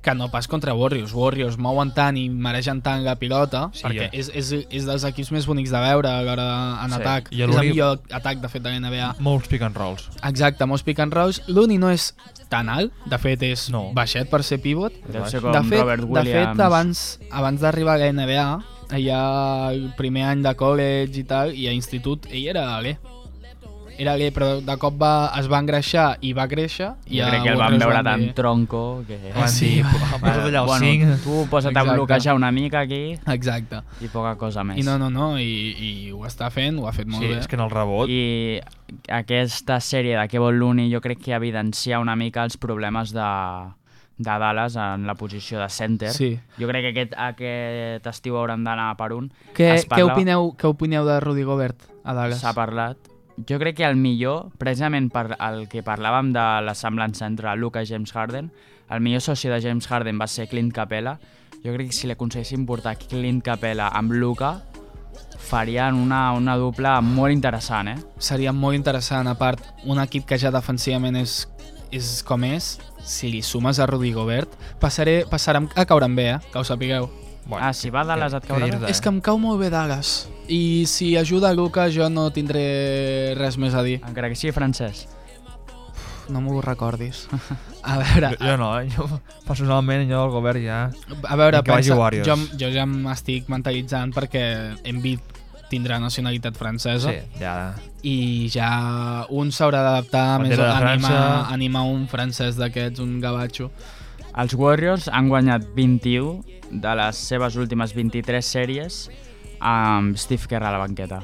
que no pas contra Warriors. Warriors mouen tant i maregen tant la pilota
Sí,
sí, perquè
eh?
és, és, és dels equips més bonics de veure a l'hora en
Sí,
sí, atac.
i
És el
l'únic-
millor atac de fet de la NBA.
Molts pick and rolls.
Exacte, molts pick and rolls. L'Uni no és tan alt, de fet és
No.
no. baixet per ser pivot,
Deu ser com
de fet,
Robert
de
Williams.
fet abans, abans d'arribar a la NBA, allà el primer any de college i tal, i a institut, ell era l'E. Era l'E, però de cop va, es va engreixar i va créixer. I
Jo
a
crec que el van
Warriors
veure
van
tan
dir-
tronco que...
Van
sí,
dir,
va.
"Pu- Posa't allà al
Ah, bueno,
5.
tu posa't a
Exacte.
bloquejar una mica aquí
Exacte.
i poca cosa més.
I no, no, no, i, i ho està fent, ho ha fet molt
Sí,
bé.
és que en el rebot... I...
I aquesta sèrie de Kevon Looney jo crec que evidencia una mica els problemes de, de Dallas en la posició de center.
Sí.
Jo crec que aquest, aquest estiu hauran d'anar per un.
Què,
Es
què, opineu, què opineu de Rudy Gobert a Dallas?
S'ha parlat. Jo crec que el millor, precisament per el que parlàvem de la semblança entre Luca i James Harden, el millor soci de James Harden va ser Clint Capella. Jo crec que si l'aconseguessin portar Clint Capella amb Luca, farien una, una dupla molt interessant, eh?
seria molt interessant, a part, un equip que ja defensivament és, és com és, si li sumes a Rudy Gobert, passaré, passarem a caure'm bé, eh? que ho sapigueu.
Ah, si va Dallas et caurà bé?
Eh? És que em cau molt bé Dallas. I si ajuda a Luca jo no tindré res més a dir.
Encara que sigui francès.
No m'ho recordis. <laughs> A veure,
Jo, jo no, eh? jo <laughs> personalment, jo del govern ja...
a veure
Que vagi
pensa,
Warriors.
jo, jo ja m'estic mentalitzant perquè Embiid tindrà nacionalitat francesa
Sí,
sí.
ja...
i ja un s'haurà d'adaptar més
Bandera
a
de
animar,
França.
animar un francès d'aquests, un gavatxo.
Els Warriors han guanyat 21 de les seves últimes 23 sèries amb Steve Kerr a la banqueta.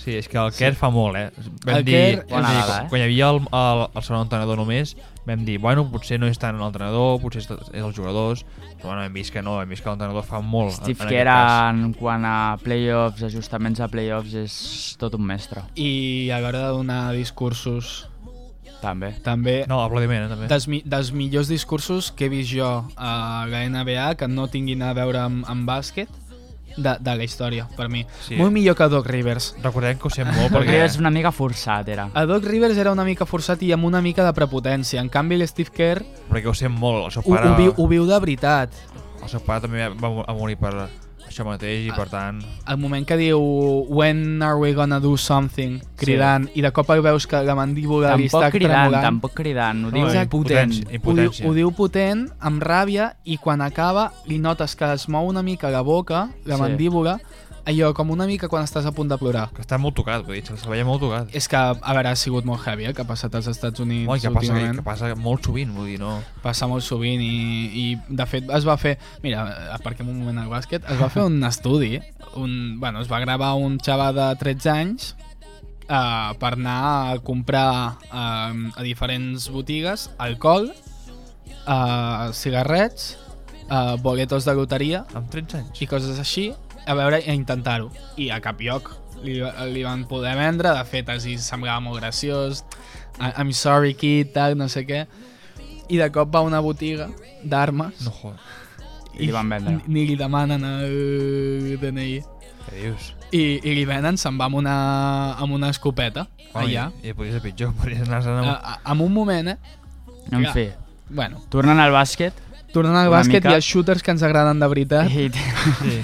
Sí, és que el Kerr fa molt, eh? Vam
El
dir,
Kerr
és-
vam dir,
Bona dada, eh?
quan hi havia el, el, el segon entrenador només, vam dir, bueno, potser no és tant l'entrenador, potser és, és els jugadors, però bueno, hem vist que no, hem vist que l'entrenador fa molt.
Steve
aquest
Kerr,
cas.
en quant a playoffs, ajustaments a playoffs, és tot un mestre,
I a l'hora de donar discursos
també.
també...
No, aplaudiment, eh, també.
Dels, mi dels millors discursos que he vist jo a la NBA que no tinguin a veure amb, amb bàsquet de, de la història, per mi.
Sí.
Sí. Molt millor que Doc Rivers.
Recordem que ho sent molt,
Perquè
perquè...
és una mica forçat, era.
A Doc Rivers era una mica forçat i amb una mica de prepotència. En canvi, l'Steve Kerr
Perquè ho sent molt, el seu
ho,
pare...
ho, viu, ho viu de veritat.
El seu pare també va mo- a morir per això mateix i
Ah,
per tant...
El moment que diu When are we gonna do something? Cridant, sí. i de cop veus que la mandíbula li
Tampoc
està
cridant,
tremolant.
tampoc cridant, ho diu
Exacte.
potent.
Impotència.
Ho diu, ho diu potent, amb ràbia, i quan acaba li notes que es mou una mica la boca,
Sí.
la sí. mandíbula, allò com una mica quan estàs a punt de plorar.
Que està molt tocat, vull dir, se veia molt tocat.
És que, a veure, ha sigut molt heavy el que ha passat als Estats Units
Oi, que passa, que,
últimament.
que passa molt sovint, vull dir, no...
Passa molt sovint i, i, de fet, es va fer... Mira, aparquem un moment al bàsquet. Es va fer un estudi. Un, bueno, es va gravar un xava de 13 anys eh, per anar a comprar eh, a diferents botigues alcohol, eh, cigarrets, eh, boletos de loteria
Amb 13 anys.
i coses així, a veure, a intentar-ho. I a cap lloc li, li van poder vendre, de fet, així semblava molt graciós, I- I'm sorry kid, tal, no sé què. I de cop va a una botiga d'armes
No joder,
I li van vendre.
ni- ni li demanen el DNI.
què dius?
I, i li venen, se'n va amb una, amb una escopeta,
Oi,
allà.
I, i podria ser pitjor, <laughs> podria anar a...
A,
a...
a, en un moment, eh?
En fi,
Bueno,
tornant al bàsquet,
tornant al
Una
bàsquet,
mica- Eh,
hi ha shooters que ens agraden de veritat.
i,
Sí.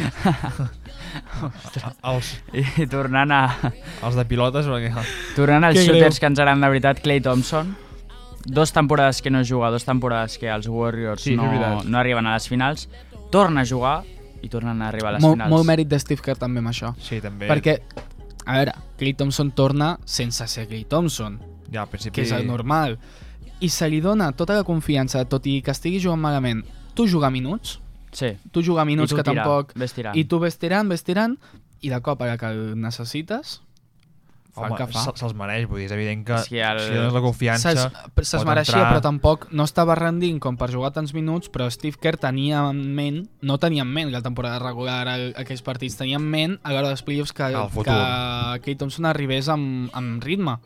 <laughs>
els,
<laughs> i tornant a...
els de pilotes, perquè...
Tornant als
Que greu.
shooters que ens agraden de veritat, Clay Thompson, dos temporades que no juga, dos temporades que els Warriors
Sí, és
no,
veritat.
no arriben a les finals, torna a jugar i tornen a arribar a les
Molt,
finals.
molt mèrit de Steve Kerr també amb això.
Sí, també.
Perquè, a veure, Clay Thompson torna sense ser Clay Thompson,
Ja, al principi...
que és el normal. I se li dona tota la confiança, tot i que estigui jugant malament. Tu jugar minuts,
Sí.
tu jugar
I
minuts
tu
que
tirar,
tampoc...
Ves tirant.
I tu ves tirant, ves tirant, i de cop ara que el necessites, fa
Home,
el que fa.
se- se'ls mereix, vull dir, és evident que
És que el-
si li dones la confiança...
Se'ls se
pot
mereixia,
entrar.
però tampoc no estava rendint com per jugar tants minuts, però Steve Kerr tenia en ment, no tenia en ment que la temporada regular el, aquells partits, tenia en ment a l'hora dels playoffs que,
El futur.
que Clay Thompson arribés amb, amb ritme.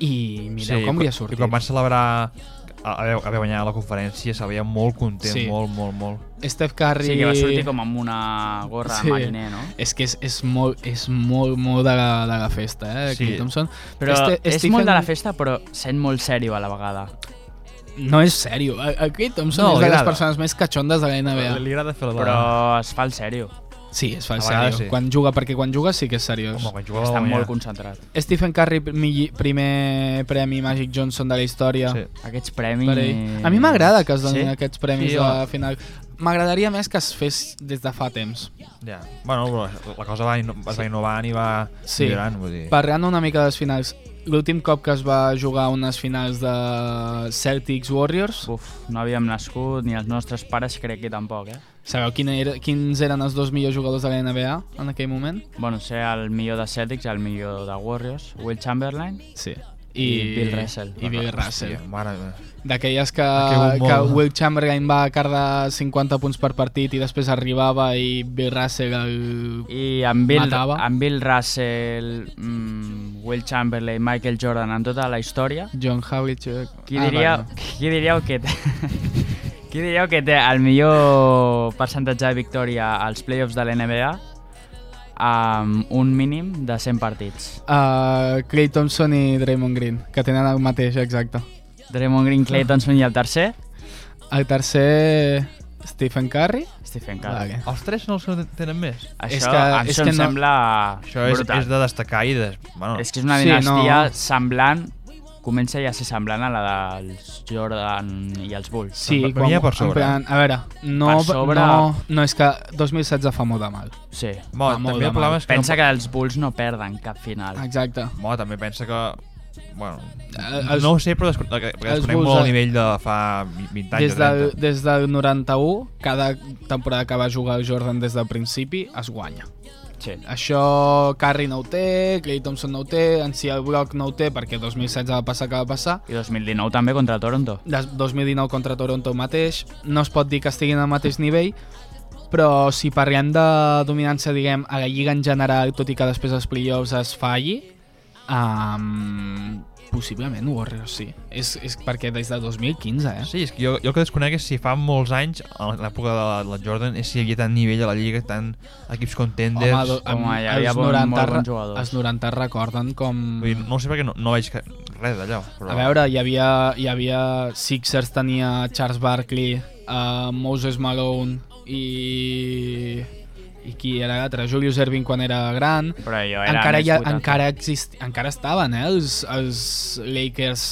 I mireu sí, com
i
li ha
quan-
sortit.
I quan van celebrar a- haver, haver guanyat la conferència, se veia molt content,
Sí.
molt, molt, molt.
Steph Curry...
Sí, que va sortir com amb una gorra
Sí.
de mariner, no?
És que és, és, molt, és molt, molt de la, de la festa, eh,
Sí.
Clay Thompson.
Però
Este-
és
Stephen-
molt de la festa, però sent molt sèrio a la vegada.
No és sèrio. El, el Clay Thompson
No,
no, és
li
de les
agrada.
persones més catxondes de la NBA.
Li agrada fer la...
Però es fa el sèrio.
Sí, es fa el
A vegades
sèrio.
sí.
Quan juga, perquè quan juga sí que és seriós.
Home, quan jugava
Està
va guanyar.
molt concentrat.
Stephen Curry, primi- primer premi Magic Johnson de la història.
Sí.
Aquests
Per
premis...
ell. A mi m'agrada que es donin
Sí?
aquests premis sí,
Sí, home.
a la final. M'agradaria més que es fes des de fa temps.
Ja. Bueno, però la cosa va, inno es va innovant i va
Sí.
millorant, vull dir.
Parlant una mica de les finals, l'últim cop que es va jugar unes finals de Celtics-Warriors,
Uf, no havíem nascut, ni els nostres pares crec que tampoc, eh?
sabeu quin era, quins eren els dos millors jugadors de la NBA en aquell moment?
Bueno, ser el millor de Celtics, el millor de Warriors, Will Chamberlain,
Sí.
I Bill Russell.
I Bill Russell.
Hòstia, mare meva.
D'aquelles que,
Aquell humor.
que Will Chamberlain va cardar 50 punts per partit i després arribava i Bill Russell el
i amb Bill,
Matava.
amb Bill Russell, mm, Will Chamberlain, Michael Jordan, en tota la història,
John Ah, Howlett...
qui, diria, qui diríeu que té... <laughs> qui diríeu que té el millor percentatge de victòria als playoffs de l'NBA amb un mínim de 100 partits?
Uh, Clay Thompson i Draymond Green, que tenen el mateix, exacte.
Draymond Green,
Ah.
Clay Thompson i el tercer,
El tercer, Stephen Curry.
Stephen Curry. Oh,
Vale.
Els tres no els que tenen més.
Això,
És
és
que-
que, això
és que
em
no-
sembla
Això és,
brutal.
és de destacar i de... Bueno,
És que és una
Sí,
dinastia
no.
sí, no... semblant, comença ja a ser semblant a la dels Jordan i els Bulls.
Sí,
Per- per mi ja per
en
sobre.
Plan, a veure, no,
Per sobre-
no, no, és que 2016 fa molt de mal.
sí.
Bueno,
Va molt
també
de
el problema
mal.
és que
Pensa
no...
que els Bulls no perden cap final.
Exacte.
Bueno, també pensa que... Bueno,
Eh, els-
no ho sé, però descon que- que
els
desconec
Bulls,
molt el
eh,
nivell de fa 20 anys
Des
o
del,
30.
des del 91, cada temporada que va jugar el Jordan des del principi es guanya.
Sí.
Això Carri no ho té, Clay Thompson no ho té, Ancia Brock no ho té perquè 2016 va passar que va passar.
I 2019 també contra Toronto.
Des 2019 contra Toronto mateix, no es pot dir que estiguin al mateix nivell, però si parlem de dominància, diguem, a la Lliga en general, tot i que després dels playoffs es falli, um, possiblement Warriors sí. És, és perquè des de 2015, eh?
Sí, és que jo, jo el que desconec és si fa molts anys, a l'època de la, de la Jordan, és si hi havia tant nivell a la Lliga, tant equips contenders...
Home, do, amb,
Home, hi havia
els,
bon-
90,
molt bons
re-
jugadors.
els 90 es recorden com...
Vull dir, no ho sé perquè no, no veig que, res d'allò. Però...
A veure, hi havia, hi havia Sixers, tenia Charles Barkley, uh, Moses Malone i... I qui era l'altre? Julius Erving quan era gran.
Però jo era
Encara,
més
ja,
votat.
encara, exist, encara estaven, eh, els, els Lakers,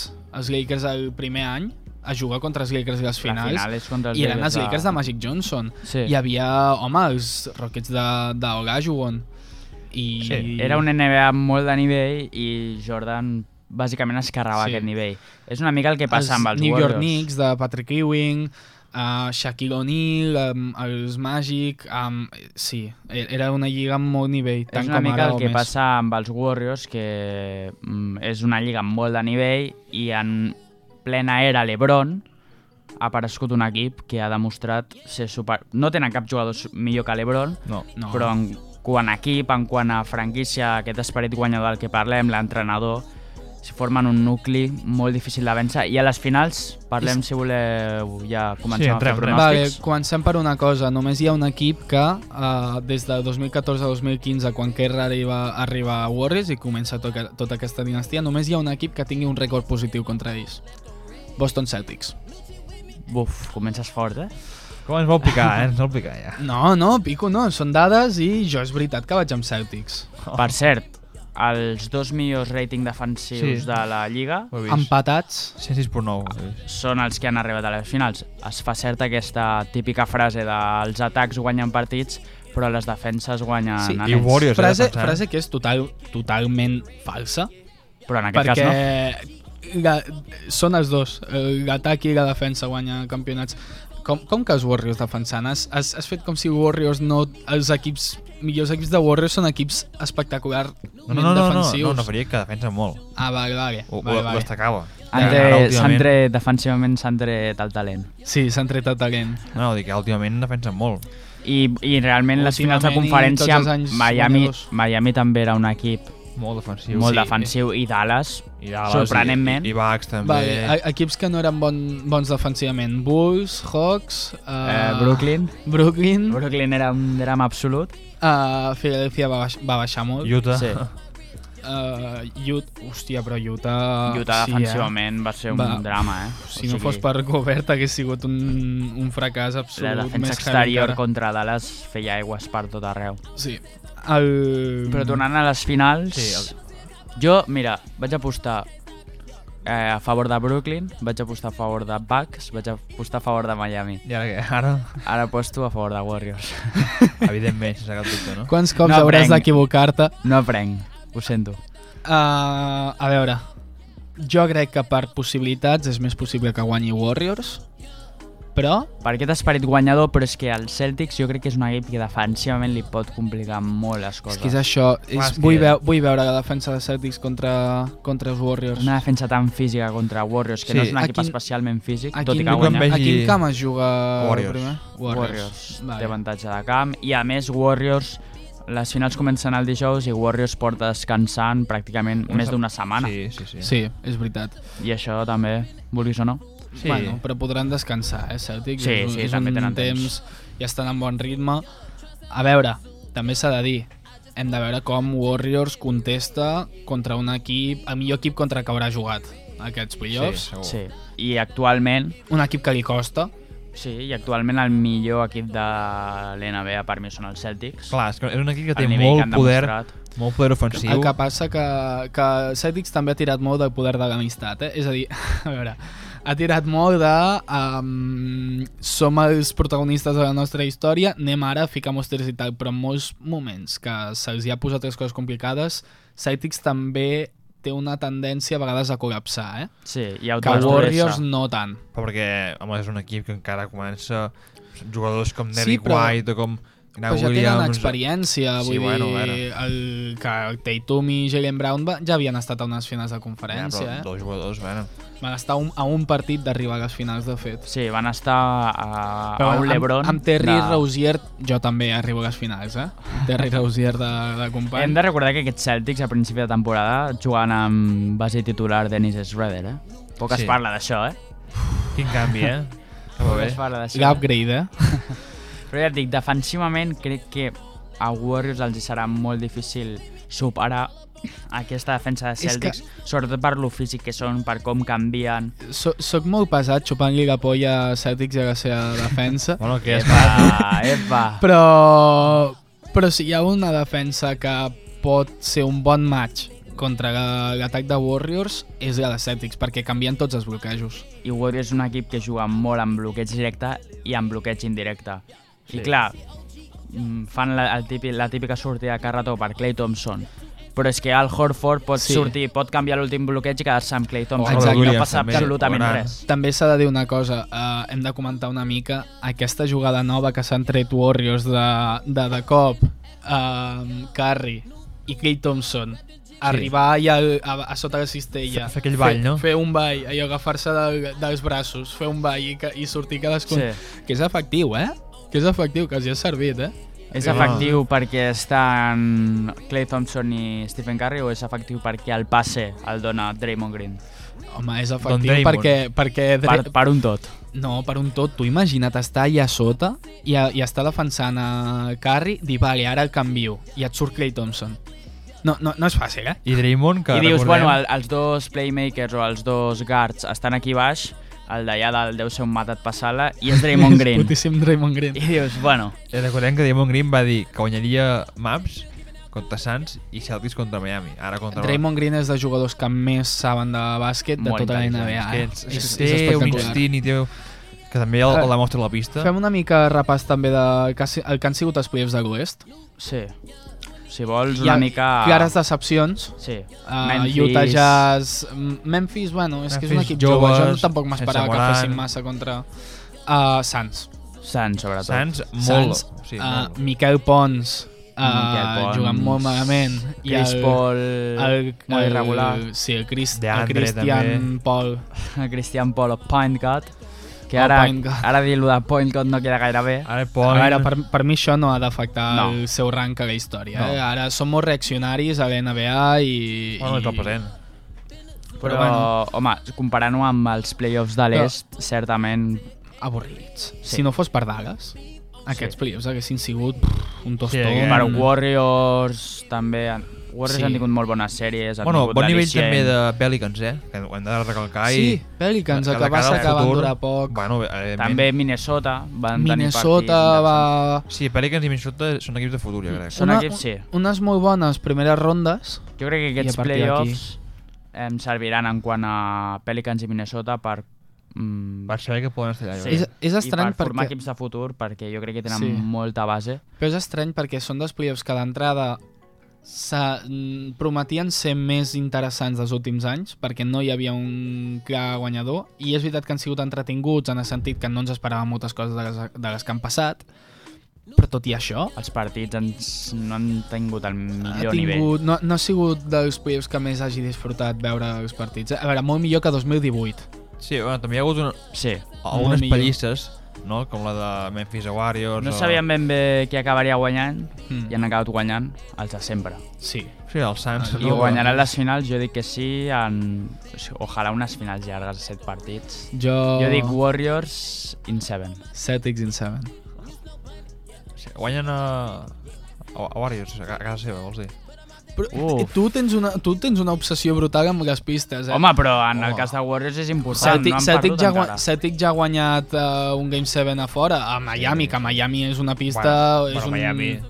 els Lakers el primer any a jugar contra els Lakers i les
La
finals.
final és contra els
I eren
Lakers
els
de-
Lakers de Magic Johnson.
Sí.
Hi havia, home, els Rockets d'Ogajuwon. I...
Sí,
Era un NBA molt de nivell i Jordan bàsicament es carregava
Sí.
aquest nivell. És una mica el que passa
els
amb els
New
Warriors.
York Knicks de Patrick Ewing, uh, Shaquille O'Neal, um, els Magic... Um, sí, e- era una lliga amb molt nivell, tant
és una
com
mica
ara
el
o
que
més.
passa amb els Warriors, que mm, és una lliga amb molt de nivell i en plena era LeBron ha aparegut un equip que ha demostrat ser super... No tenen cap jugador su- millor que LeBron,
No.
No.
però en quant a equip, en quant a franquícia, aquest esperit guanyador del que parlem, l'entrenador, si formen un nucli molt difícil de vèncer. I a les finals parlem, si voleu, ja comencem
entrem,
a fer
entrem.
Vale,
pronòstics.
comencem per una cosa. Només hi ha un equip que uh, des de 2014 a 2015, quan Kerr arriba, arriba a Warriors i comença to tota aquesta dinastia, només hi ha un equip que tingui un rècord positiu contra ells. Boston Celtics.
Buf, comences fort, eh?
Com ens vol picar, eh? Ens vol picar, ja.
No, no, pico no, són dades i jo és veritat que vaig amb Celtics.
Per cert, els dos millors rating defensius
Sí.
de la Lliga
Ho he vist.
Empatats
106.9.
són els que han arribat a les finals. Es fa certa aquesta típica frase dels atacs guanyen partits, però les defenses guanyen
Sí, i
anells.
I Warriors,
frase,
eh, defensant.
frase que és total, totalment falsa,
Però en aquest
perquè
cas no.
la, són els dos, eh, l'atac i la defensa guanya campionats. Com, com que els Warriors defensant? Has, has, has fet com si Warriors no... Els equips millors equips de Warriors són equips espectacular
No, no, no, no, no,
defensius.
no, no faria que defensa molt.
Ah, vale, vale.
Ho,
vale,
ho, ho
vale.
destacava.
Han
Ara,
tret, s'han
últimament-
tret, defensivament s'han tret el talent.
Sí, s'han tret el talent.
No, no, dic que últimament defensen molt.
I, i realment les finals de
Últimament i
conferència,
tots els anys
Miami,
guanyadors.
Miami també era un equip
Molt defensiu.
molt
sí. Mm.
defensiu i Dallas,
I Dallas,
sorprenentment,
I, i Bax també.
Vale, e- equips que no eren bon, bons defensivament. Bulls, Hawks... Uh,
eh, Brooklyn.
Brooklyn.
Brooklyn era un drama absolut.
Uh, Philadelphia va, baix, va baixar molt.
Utah.
Sí.
Uh, Utah, hòstia, però Utah...
Utah
sí, eh?
defensivament va ser un
Va.
drama, eh? O
Si no fos per Gobert hagués sigut un, un fracàs absolut.
La defensa
més heavy Mm.
exterior
encara.
contra Dallas feia aigües per tot arreu.
Sí. El...
Però tornant a les finals...
Sí,
Jo, mira, vaig apostar eh, a favor de Brooklyn, vaig apostar a favor de Bucks, vaig apostar a favor de Miami.
<laughs> I ara què? Ara,
Ara aposto a favor de Warriors. <laughs>
evidentment, sense cap dubte, no?
Quants cops
No
hauràs
aprenc.
d'equivocar-te?
No aprenc, ho sento.
Uh, a veure, jo crec que per possibilitats és més possible que guanyi Warriors, però
Per aquest esperit guanyador, però és que el Celtics jo crec que és un equip que defensivament li pot complicar molt les
és
coses.
que és això.
Clar,
És,
és que-
vull, veu, vull veure la defensa de Celtics contra, contra els Warriors.
Una defensa tan física contra Warriors, que
Sí,
no és un
a
equip
quin-
especialment físic,
A
tot i
quin,
que
quan
guanya.
veig-
a quin
vegi-
camp es juga
Warriors.
primer?
Warriors, té
Vale.
avantatge de camp i a més Warriors les finals comencen el dijous i Warriors porta descansant pràcticament
Una
més
se-
d'una setmana
Sí, sí, sí.
Sí, és veritat.
i això també, vulguis o no
Sí.
Bueno, però podran descansar, eh, Celtic?
Sí,
és, un-
sí,
és
també
un
tenen
temps,
temps.
ja estan en bon ritme. A veure, també s'ha de dir, hem de veure com Warriors contesta contra un equip, el millor equip contra el que haurà jugat aquests playoffs.
segur.
sí. i actualment
Sí. Un equip que li costa.
sí, i actualment el millor equip de l'NBA per mi són els Celtics
Clar, és, que és un equip que
El
té
nivell que
molt
han
poder,
demostrat.
molt poder
Sí. El
ofensiu.
que passa que, que Celtics també ha tirat molt del poder de l'amistat, eh? És a dir, <laughs> a veure, ha tirat molt de... Um, som els protagonistes de la nostra història, anem ara, ficam-nos tres i tal, però en molts moments que se'ls hi ha posat les coses complicades, Celtics també té una tendència a vegades a col·lapsar, eh?
sí, i
Que Warriors
autodestruir-se
no tant.
Però perquè, home, és un equip que encara comença jugadors com
Sí,
Derrick
però-
White o com Kyle
Però ja tenen
Williams...
experiència,
Sí,
vull
bueno, a
dir,
veure.
el, que el Tatum i Jalen Brown va, ja havien estat a unes finals de
Ja,
conferència,
però
eh?
dos jugadors, bueno.
Van estar un, a un partit d'arribar a les finals, de fet.
Sí, van estar a, a un
amb-
Lebron.
Amb, Terry
de-
Rozier, jo també arribo a les finals, eh? Terry Rozier de, de company.
Hem de recordar que aquests Celtics a principi de temporada jugant amb base titular Dennis Schroeder, eh? Poc es
Sí.
parla d'això, eh?
Quin canvi, eh? Està molt
Poc
bé.
es parla d'això.
L'upgrade, eh?
Però ja et dic, defensivament crec que a Warriors els hi serà molt difícil superar aquesta defensa de
És que-
Celtics, sobretot per lo físic que són, per com canvien.
So, soc molt pesat xupant-li la polla a Celtics i a la seva
<laughs>
defensa.
Bueno, que ja està.
Epa, epa.
Però, però si hi ha una defensa que pot ser un bon match contra la- l'atac de Warriors és la de Celtics, perquè canvien tots els bloquejos.
I Warriors és un equip que juga molt amb bloqueig directe i amb bloqueig indirecte. I clar, mm, fan la, el típic, la típica sortida de carretó per Clay Thompson, però és que Al Horford pot sí.
Sí.
sortir, pot canviar l'últim bloqueig i quedar-se amb Clay Thompson.
Exacte.
No
Williams
passa
també,
absolutament
Durant.
res.
També s'ha de dir una cosa, eh, hem de comentar una mica aquesta jugada nova que s'han tret Warriors de, de, de cop, eh, Curry i Clay Thompson, arribar i al, a, a sota la cistella,
Fer- fer aquell ball,
fer,
no?
fer un ball, allò, agafar-se del, dels braços, fer un ball i, ca- i sortir cadascun...
Sí.
Que és efectiu, eh? Que és efectiu, que els hi ha servit, eh?
És
Ah.
efectiu perquè estan Clay Thompson i Stephen Curry o és efectiu perquè el passe el dona Draymond Green?
Home, és
Don
efectiu
Draymond.
perquè... perquè Dra-
Per, per un tot.
No, per un tot. Tu imagina't estar allà sota i, a, i estar defensant a Curry, dir, vale, ara el canvio, i et surt Clay Thompson. No, no, no és fàcil, eh?
I Draymond, que
I dius,
recordem,
bueno, el, els dos playmakers o els dos guards estan aquí baix, el d'allà del deu ser un matat passala i és
<laughs>
Draymond
<laughs>
Green.
Putíssim Draymond Green.
I dius, bueno,
eh, recordem que Draymond Green va dir que guanyaria Maps contra Suns i Celtics contra Miami. Ara contra
Draymond Green és dels jugadors que més saben de bàsquet de
Molt
tota la
intel·ligent.
NBA.
És
eh?
que és, és, és, té un instint i té... Que també el, el demostra a la pista.
Fem una mica repàs també de que ha si- el que han sigut els playoffs de l'Oest.
sí. Si vols
Hi ha
una mica...
Clares decepcions.
Sí.
Uh,
Memphis.
Utah Jazz... mm, Memphis, bueno, és que és un
Memphis,
equip jove. Jo no-
joves,
tampoc m'esperava
sense
que
Morant.
fessin massa contra uh, Suns.
Suns, sobretot.
Sants, molt.
Suns,
o sigui,
uh,
molt.
Miquel Pons, uh,
Miquel Pons,
jugant molt malament.
Chris Paul, molt irregular. <laughs>
El, sí, el, Chris, el
Deandre,
Christian
també.
Paul.
el Christian Paul of Point Cut, que
El
ara,
Point Guard.
ara dir-lo de Point Cut no queda gaire bé.
A
Ara Point...
veure, per, per mi això no ha d'afectar
No.
el seu rang a la història.
No.
Eh? Ara som molt reaccionaris a la NBA i...
Bueno, és el
i-
present.
Però,
bueno.
home, comparant-ho amb els playoffs de l'est, certament...
Avorrits. Si no fos per Dallas, aquests
Sí.
playoffs haguessin sigut pff, un tostó.
hagués-
Per
Mm.
Warriors també... han- Warriors
Sí.
sí. han tingut molt bones sèries, han
Bueno,
tingut
bon
la
nivell
Licient.
també de Pelicans, eh? Que ho hem de recalcar
sí,
i...
Pelicans, el
de
que va
cara al
ser que van
futur,
durar poc.
Bueno, evidentment.
També Minnesota van tenir
Minnesota
partits
va...
Sí, Pelicans i Minnesota són equips de futur, jo crec.
Són equips, sí.
Unes molt bones primeres rondes.
interessants. Jo crec que
I a
aquests
partir
playoffs em serviran en quant a Pelicans i Minnesota per... Mm,
Per saber que poden estar allà.
sí.
jo crec.
És- és estrany
I per formar
perquè-
equips de futur perquè jo crec que tenen
Sí.
molta base.
Però és estrany perquè són dels playoffs que d'entrada se mm, prometien ser més interessants dels últims anys perquè no hi havia un clar guanyador i és veritat que han sigut entretinguts en el sentit que no ens esperàvem moltes coses de les, de les que han passat però tot i això
Els partits ens, no han tingut el
ha
millor nivell.
tingut, no, no ha sigut dels playoffs que més hagi disfrutat veure els partits a veure, molt millor que 2018
Sí, bueno, també hi ha hagut una,
Sí.
algunes
millor.
pallisses, no? Com la de Memphis a Warriors...
No
o-
sabíem ben bé qui acabaria guanyant
Mm.
Hmm.
i han acabat guanyant els de sempre.
sí,
Sí, el Suns.
Ah,
I
No,
guanyaran
no.
les finals, jo dic que sí, en... o sigui, ojalà unes finals llargues, set partits.
jo...
Jo dic Warriors in seven.
Celtics in 7
Sí, guanyen a... A a Warriors, a ca- a casa seva, vols dir?
però
Uf.
tu tens, una, tu tens una obsessió brutal amb les pistes eh?
Home, però en el
Home.
cas de Warriors és important,
Celtic,
Ah, no han
Celtic,
perdut
ja,
encara.
gua- Celtic ja ha guanyat uh, un Game 7 a fora, a Miami,
Sí.
que Miami és una pista...
Bueno,
és
bueno,
un...
Miami.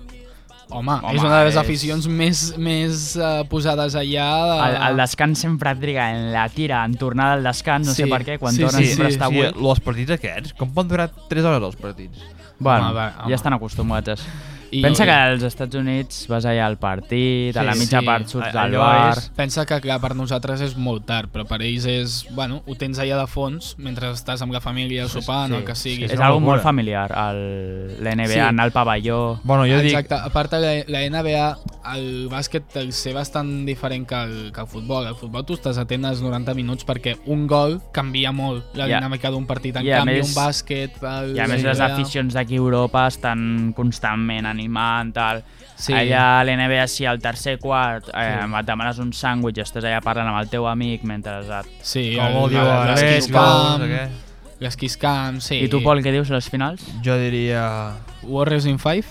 Home,
Home,
és una de les
és-
aficions més, més uh, posades allà... eh, De...
El, el descans sempre et triga en la tira, en tornar del descans, no
Sí,
sé per què, quan
sí,
tornen
sí,
sempre
sí,
està
sí,
buit.
els partits aquests, com poden durar 3 hores els partits?
Bueno,
Home, va, home.
ja estan acostumats.
I
Pensa que als Estats Units vas allà al partit, a la
Sí,
mitja
sí.
part surts
A-
del
allò
bar...
és-
Pensa que, clar, per nosaltres és molt tard, però per ells és... Bueno, ho tens allà de fons mentre estàs amb la família sopant sí, o el que sigui.
És,
és
és
una
algo molt
locura.
familiar, el- l'NBA,
Sí.
sí. anar al pavelló...
Bueno, jo
Exacte, a part la, la NBA, el bàsquet el ser bastant diferent que el, que el futbol. El futbol tu estàs atent als 90 minuts perquè un gol canvia molt la
Ja.
dinàmica d'un partit. En
I a
canvi,
més-
un bàsquet... El,
I a més
la
les
NBA,
aficions d'aquí a Europa estan constantment animant, tal...
Sí.
Sí. Allà a l'NBA, si al tercer quart eh, et demanes un sàndwich i estàs allà parlant amb el teu amic mentre et...
Sí,
Com ho
el-
diu
el-
Alex,
l'esquís
com,
camp,
no sé què.
l'esquís camp, sí.
I tu, Pol, què dius a les finals?
dic... Jo diria...
Warriors in 5?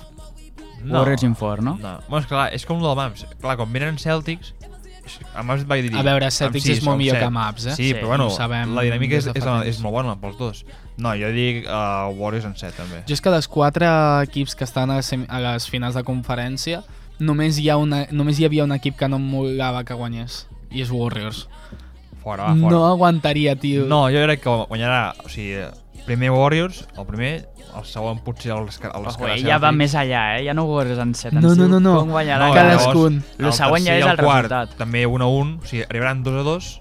No. Warriors in 4, no?
No. Bueno, és clar, és com el del Mams. Clar, quan venen Celtics, el Mams et va dir...
A veure,
amb
Celtics
sis
és molt
o amb
millor
set.
que Mavs, eh?
Sí,
Sí,
però bueno,
ho sabem
la dinàmica
des
és,
de
és,
fa temps.
és molt bona pels dos. No, jo dic uh, Warriors en 7, també.
Jo és que dels quatre equips que estan a les, semi- a les finals de conferència, només hi, ha una, només hi havia un equip que no em molava que guanyés, i és Warriors.
Fora, va, Ah, fora.
No aguantaria, tio.
No, jo crec que guanyarà, o sigui, primer Warriors, el primer, el segon potser els, els, els
Ojo, eh, ja va més allà, eh? Ja no ho veuràs en set.
No, no, no, no.
Com guanyarà?
No,
No,
llavors- cadascun.
Lo següent ja
tercer i
és el
quart,
resultat.
També 1 a 1, o sigui, arribaran 2 a 2,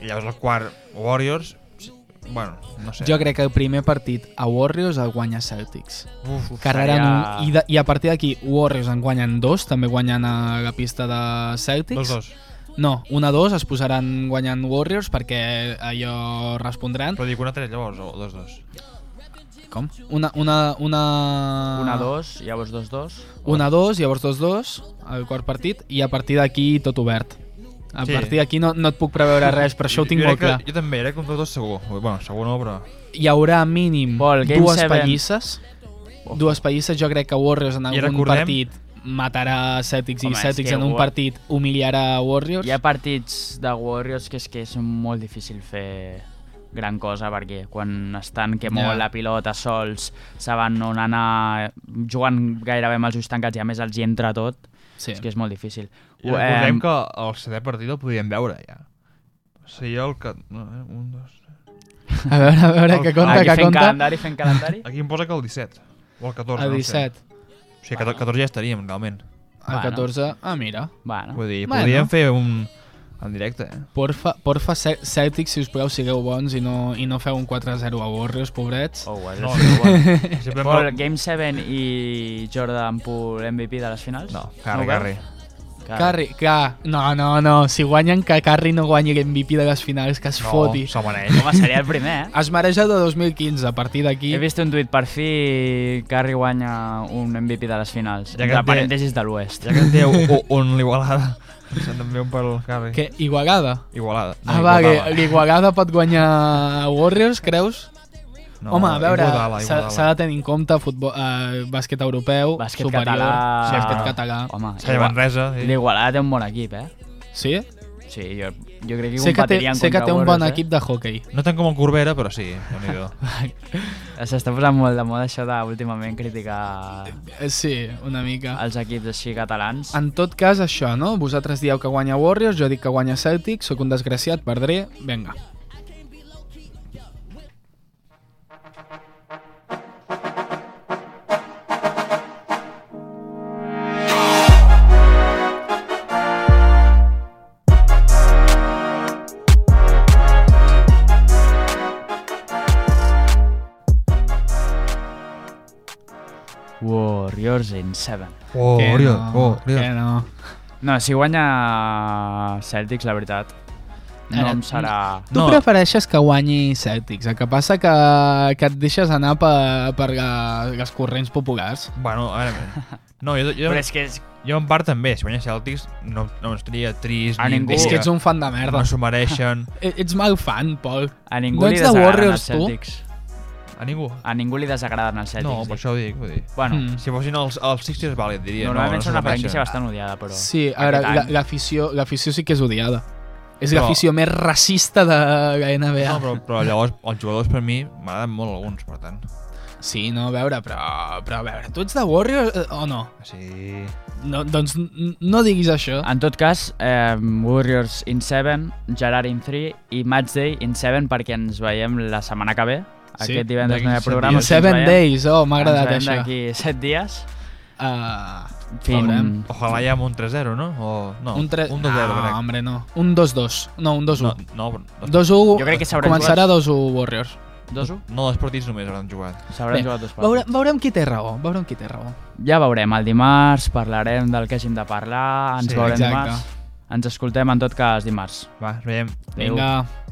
i llavors el quart Warriors, sí, bueno, no sé.
Jo crec que el primer partit a Warriors el guanya Celtics.
Uf,
Carregaran
seria-
un, i, de, I a partir d'aquí Warriors en guanyen dos, també guanyen a la pista de Celtics.
2 2.
No, un a dos es posaran guanyant Warriors perquè allò respondran.
Però dic 1 a 3, llavors, o 2 2.
Com? Una, una, una...
Una, dos, llavors dos, dos.
1 a 2, llavors 2 2, el quart partit, i a partir d'aquí tot obert. A sí.
Sí.
partir d'aquí no, no et puc preveure res, però això ho tinc
jo crec
molt clar.
Que, jo també, crec que un 2 2 segur. Bueno, segur no, però...
Hi haurà mínim
Vol, Game
dues
Seven.
pallisses. Dues pallisses, jo crec que Warriors en
I
algun
recordem-
partit matarà Celtics
Home,
i
és
Celtics
que
en un
War-
partit humiliarà Warriors.
Hi ha partits de Warriors que és que és molt difícil fer gran cosa perquè quan estan que mouen
Ja.
la pilota sols saben on anar jugant gairebé amb els ulls tancats i a més els hi entra tot
Sí.
és que és molt difícil
I
Ho-
recordem
em,
que el setè partit el podíem veure, ja. Seria el que... No, eh? un, dos...
A veure, a veure, que compta,
aquí
que
fent
compta.
calendari fent
<laughs>
calendari
Aquí em posa que el 17. O el 14,
El
no ho
17,
Sé. O sigui, que 14 ja estaríem, realment.
el
Bueno.
14... Ah, mira.
bueno,
Vull dir,
Bueno.
podríem fer un... En directe, eh?
Porfa, porfa Ce- Celtics, si us plau, sigueu bons i no, i no feu un 4-0 a Warriors, pobrets.
oh, well, no,
No, no,
no, bueno.
Sempre
Paul, Game 7 i Jordan Poole MVP de les finals?
No,
ho
Carri,
veus?
Carri.
Carri, clar, no, no, no, si guanyen que Carri no guanyi l'MVP de les finals, que es
No,
foti.
se'l mereix.
Home, seria el primer,
<laughs>
eh?
Es mareja de 2015, a partir
He
d'aquí...
vist un tuit per fi Carri guanya un MVP de les finals
Ja que
ja entre
té-
parèntesis de l'oest
Ja que en té un, un l'Igualada, també un per al Carri.
Que Igualada.
Igualada. No,
ah, va,
Igualada.
que l'Igualada pot guanyar Warriors, creus?
No,
No, Home, a veure,
Igualada,
s'ha
Igualada.
s'ha de tenir en compte futbol, eh, bàsquet europeu,
bàsquet
superior,
català
sí, bàsquet català.
home,
Salla
Igua-
Manresa, sí.
l'Igualada té un bon equip eh?
Sí?
sí, jo, jo crec que
Sé que, té,
competirien
sé que
contra
té un
Warriors,
bon
eh?
equip de hockey.
No tant com el Corbera, però sí, déu nhi
s'està posant molt de moda això de últimament criticar
Eh, Sí, una mica.
els equips així catalans
En tot cas, això, no? Vosaltres dieu que guanya Warriors, jo dic que guanya Celtic, sóc un desgraciat, perdré, venga.
Warriors in 7
Oh,
Que
Oriol,
no,
oh,
que
Oriol.
no.
no, si guanya Celtics la veritat no
Ara,
em serà
Tu
No.
prefereixes que guanyi Celtics, el que passa que, que et deixes anar per, per la, les corrents populars.
Bueno, a veure... No, jo, jo,
però és que és
jo en part també, si guanya Celtics no, no estaria trist
A
ni
ningú.
indignat.
És que ets un fan de merda.
No s'ho mereixen
E- Ets mal fan, Pol.
a ningú
No
li
ets de
desagraden
Warriors,
els
tu?
Celtics
a ningú.
a ningú li desagraden els Ah, Celtics
No, per
dic.
això ho dic, vull dir.
bueno,
Mm.
Si fossin els, els Sixers, vale, et diria.
Normalment
no, no
són
s'ho
una franquícia
mereixen.
bastant odiada, però...
Sí, a veure, la-
aquest any-
l'afició l'afició sí que és odiada. És
Però-
l'afició més racista de la NBA.
No, però, però llavors els jugadors per mi m'agraden molt alguns, per tant.
Sí, no, a veure, però, però a veure, tu ets de Warriors eh, o no?
Sí.
no doncs n- no diguis això.
En tot cas, eh, Warriors in 7, Gerard in 3 i Matchday in 7 perquè ens veiem la setmana que ve.
Sí,
Aquest divendres
d'aquí
no hi ha
set
programa.
dies.
així ens
Seven
veiem.
Days, oh, m'ha
Ens
agradat
veiem
això.
d'aquí 7 dies.
Uh,
Fin.
Ojalá hi ha un 3-0, no? O, no,
Un 3...
Un 2-0,
ah,
crec.
hombre, no. Un 2-2. No, un 2-1.
No, no, però- dos,
2-1.
Jo crec que s'hauran
Començarà 2-1 Warriors.
2-1?
no, dos partits només hauran jugat.
S'hauran
Bé,
jugat dos partits.
Veure, veurem qui té raó. Veurem qui té raó.
Ja veurem, el dimarts parlarem del que hàgim de parlar, ens
Sí,
veurem
exacte.
dimarts. Ens escoltem en tot cas dimarts.
Va, ens veiem.
Adéu.
Vinga.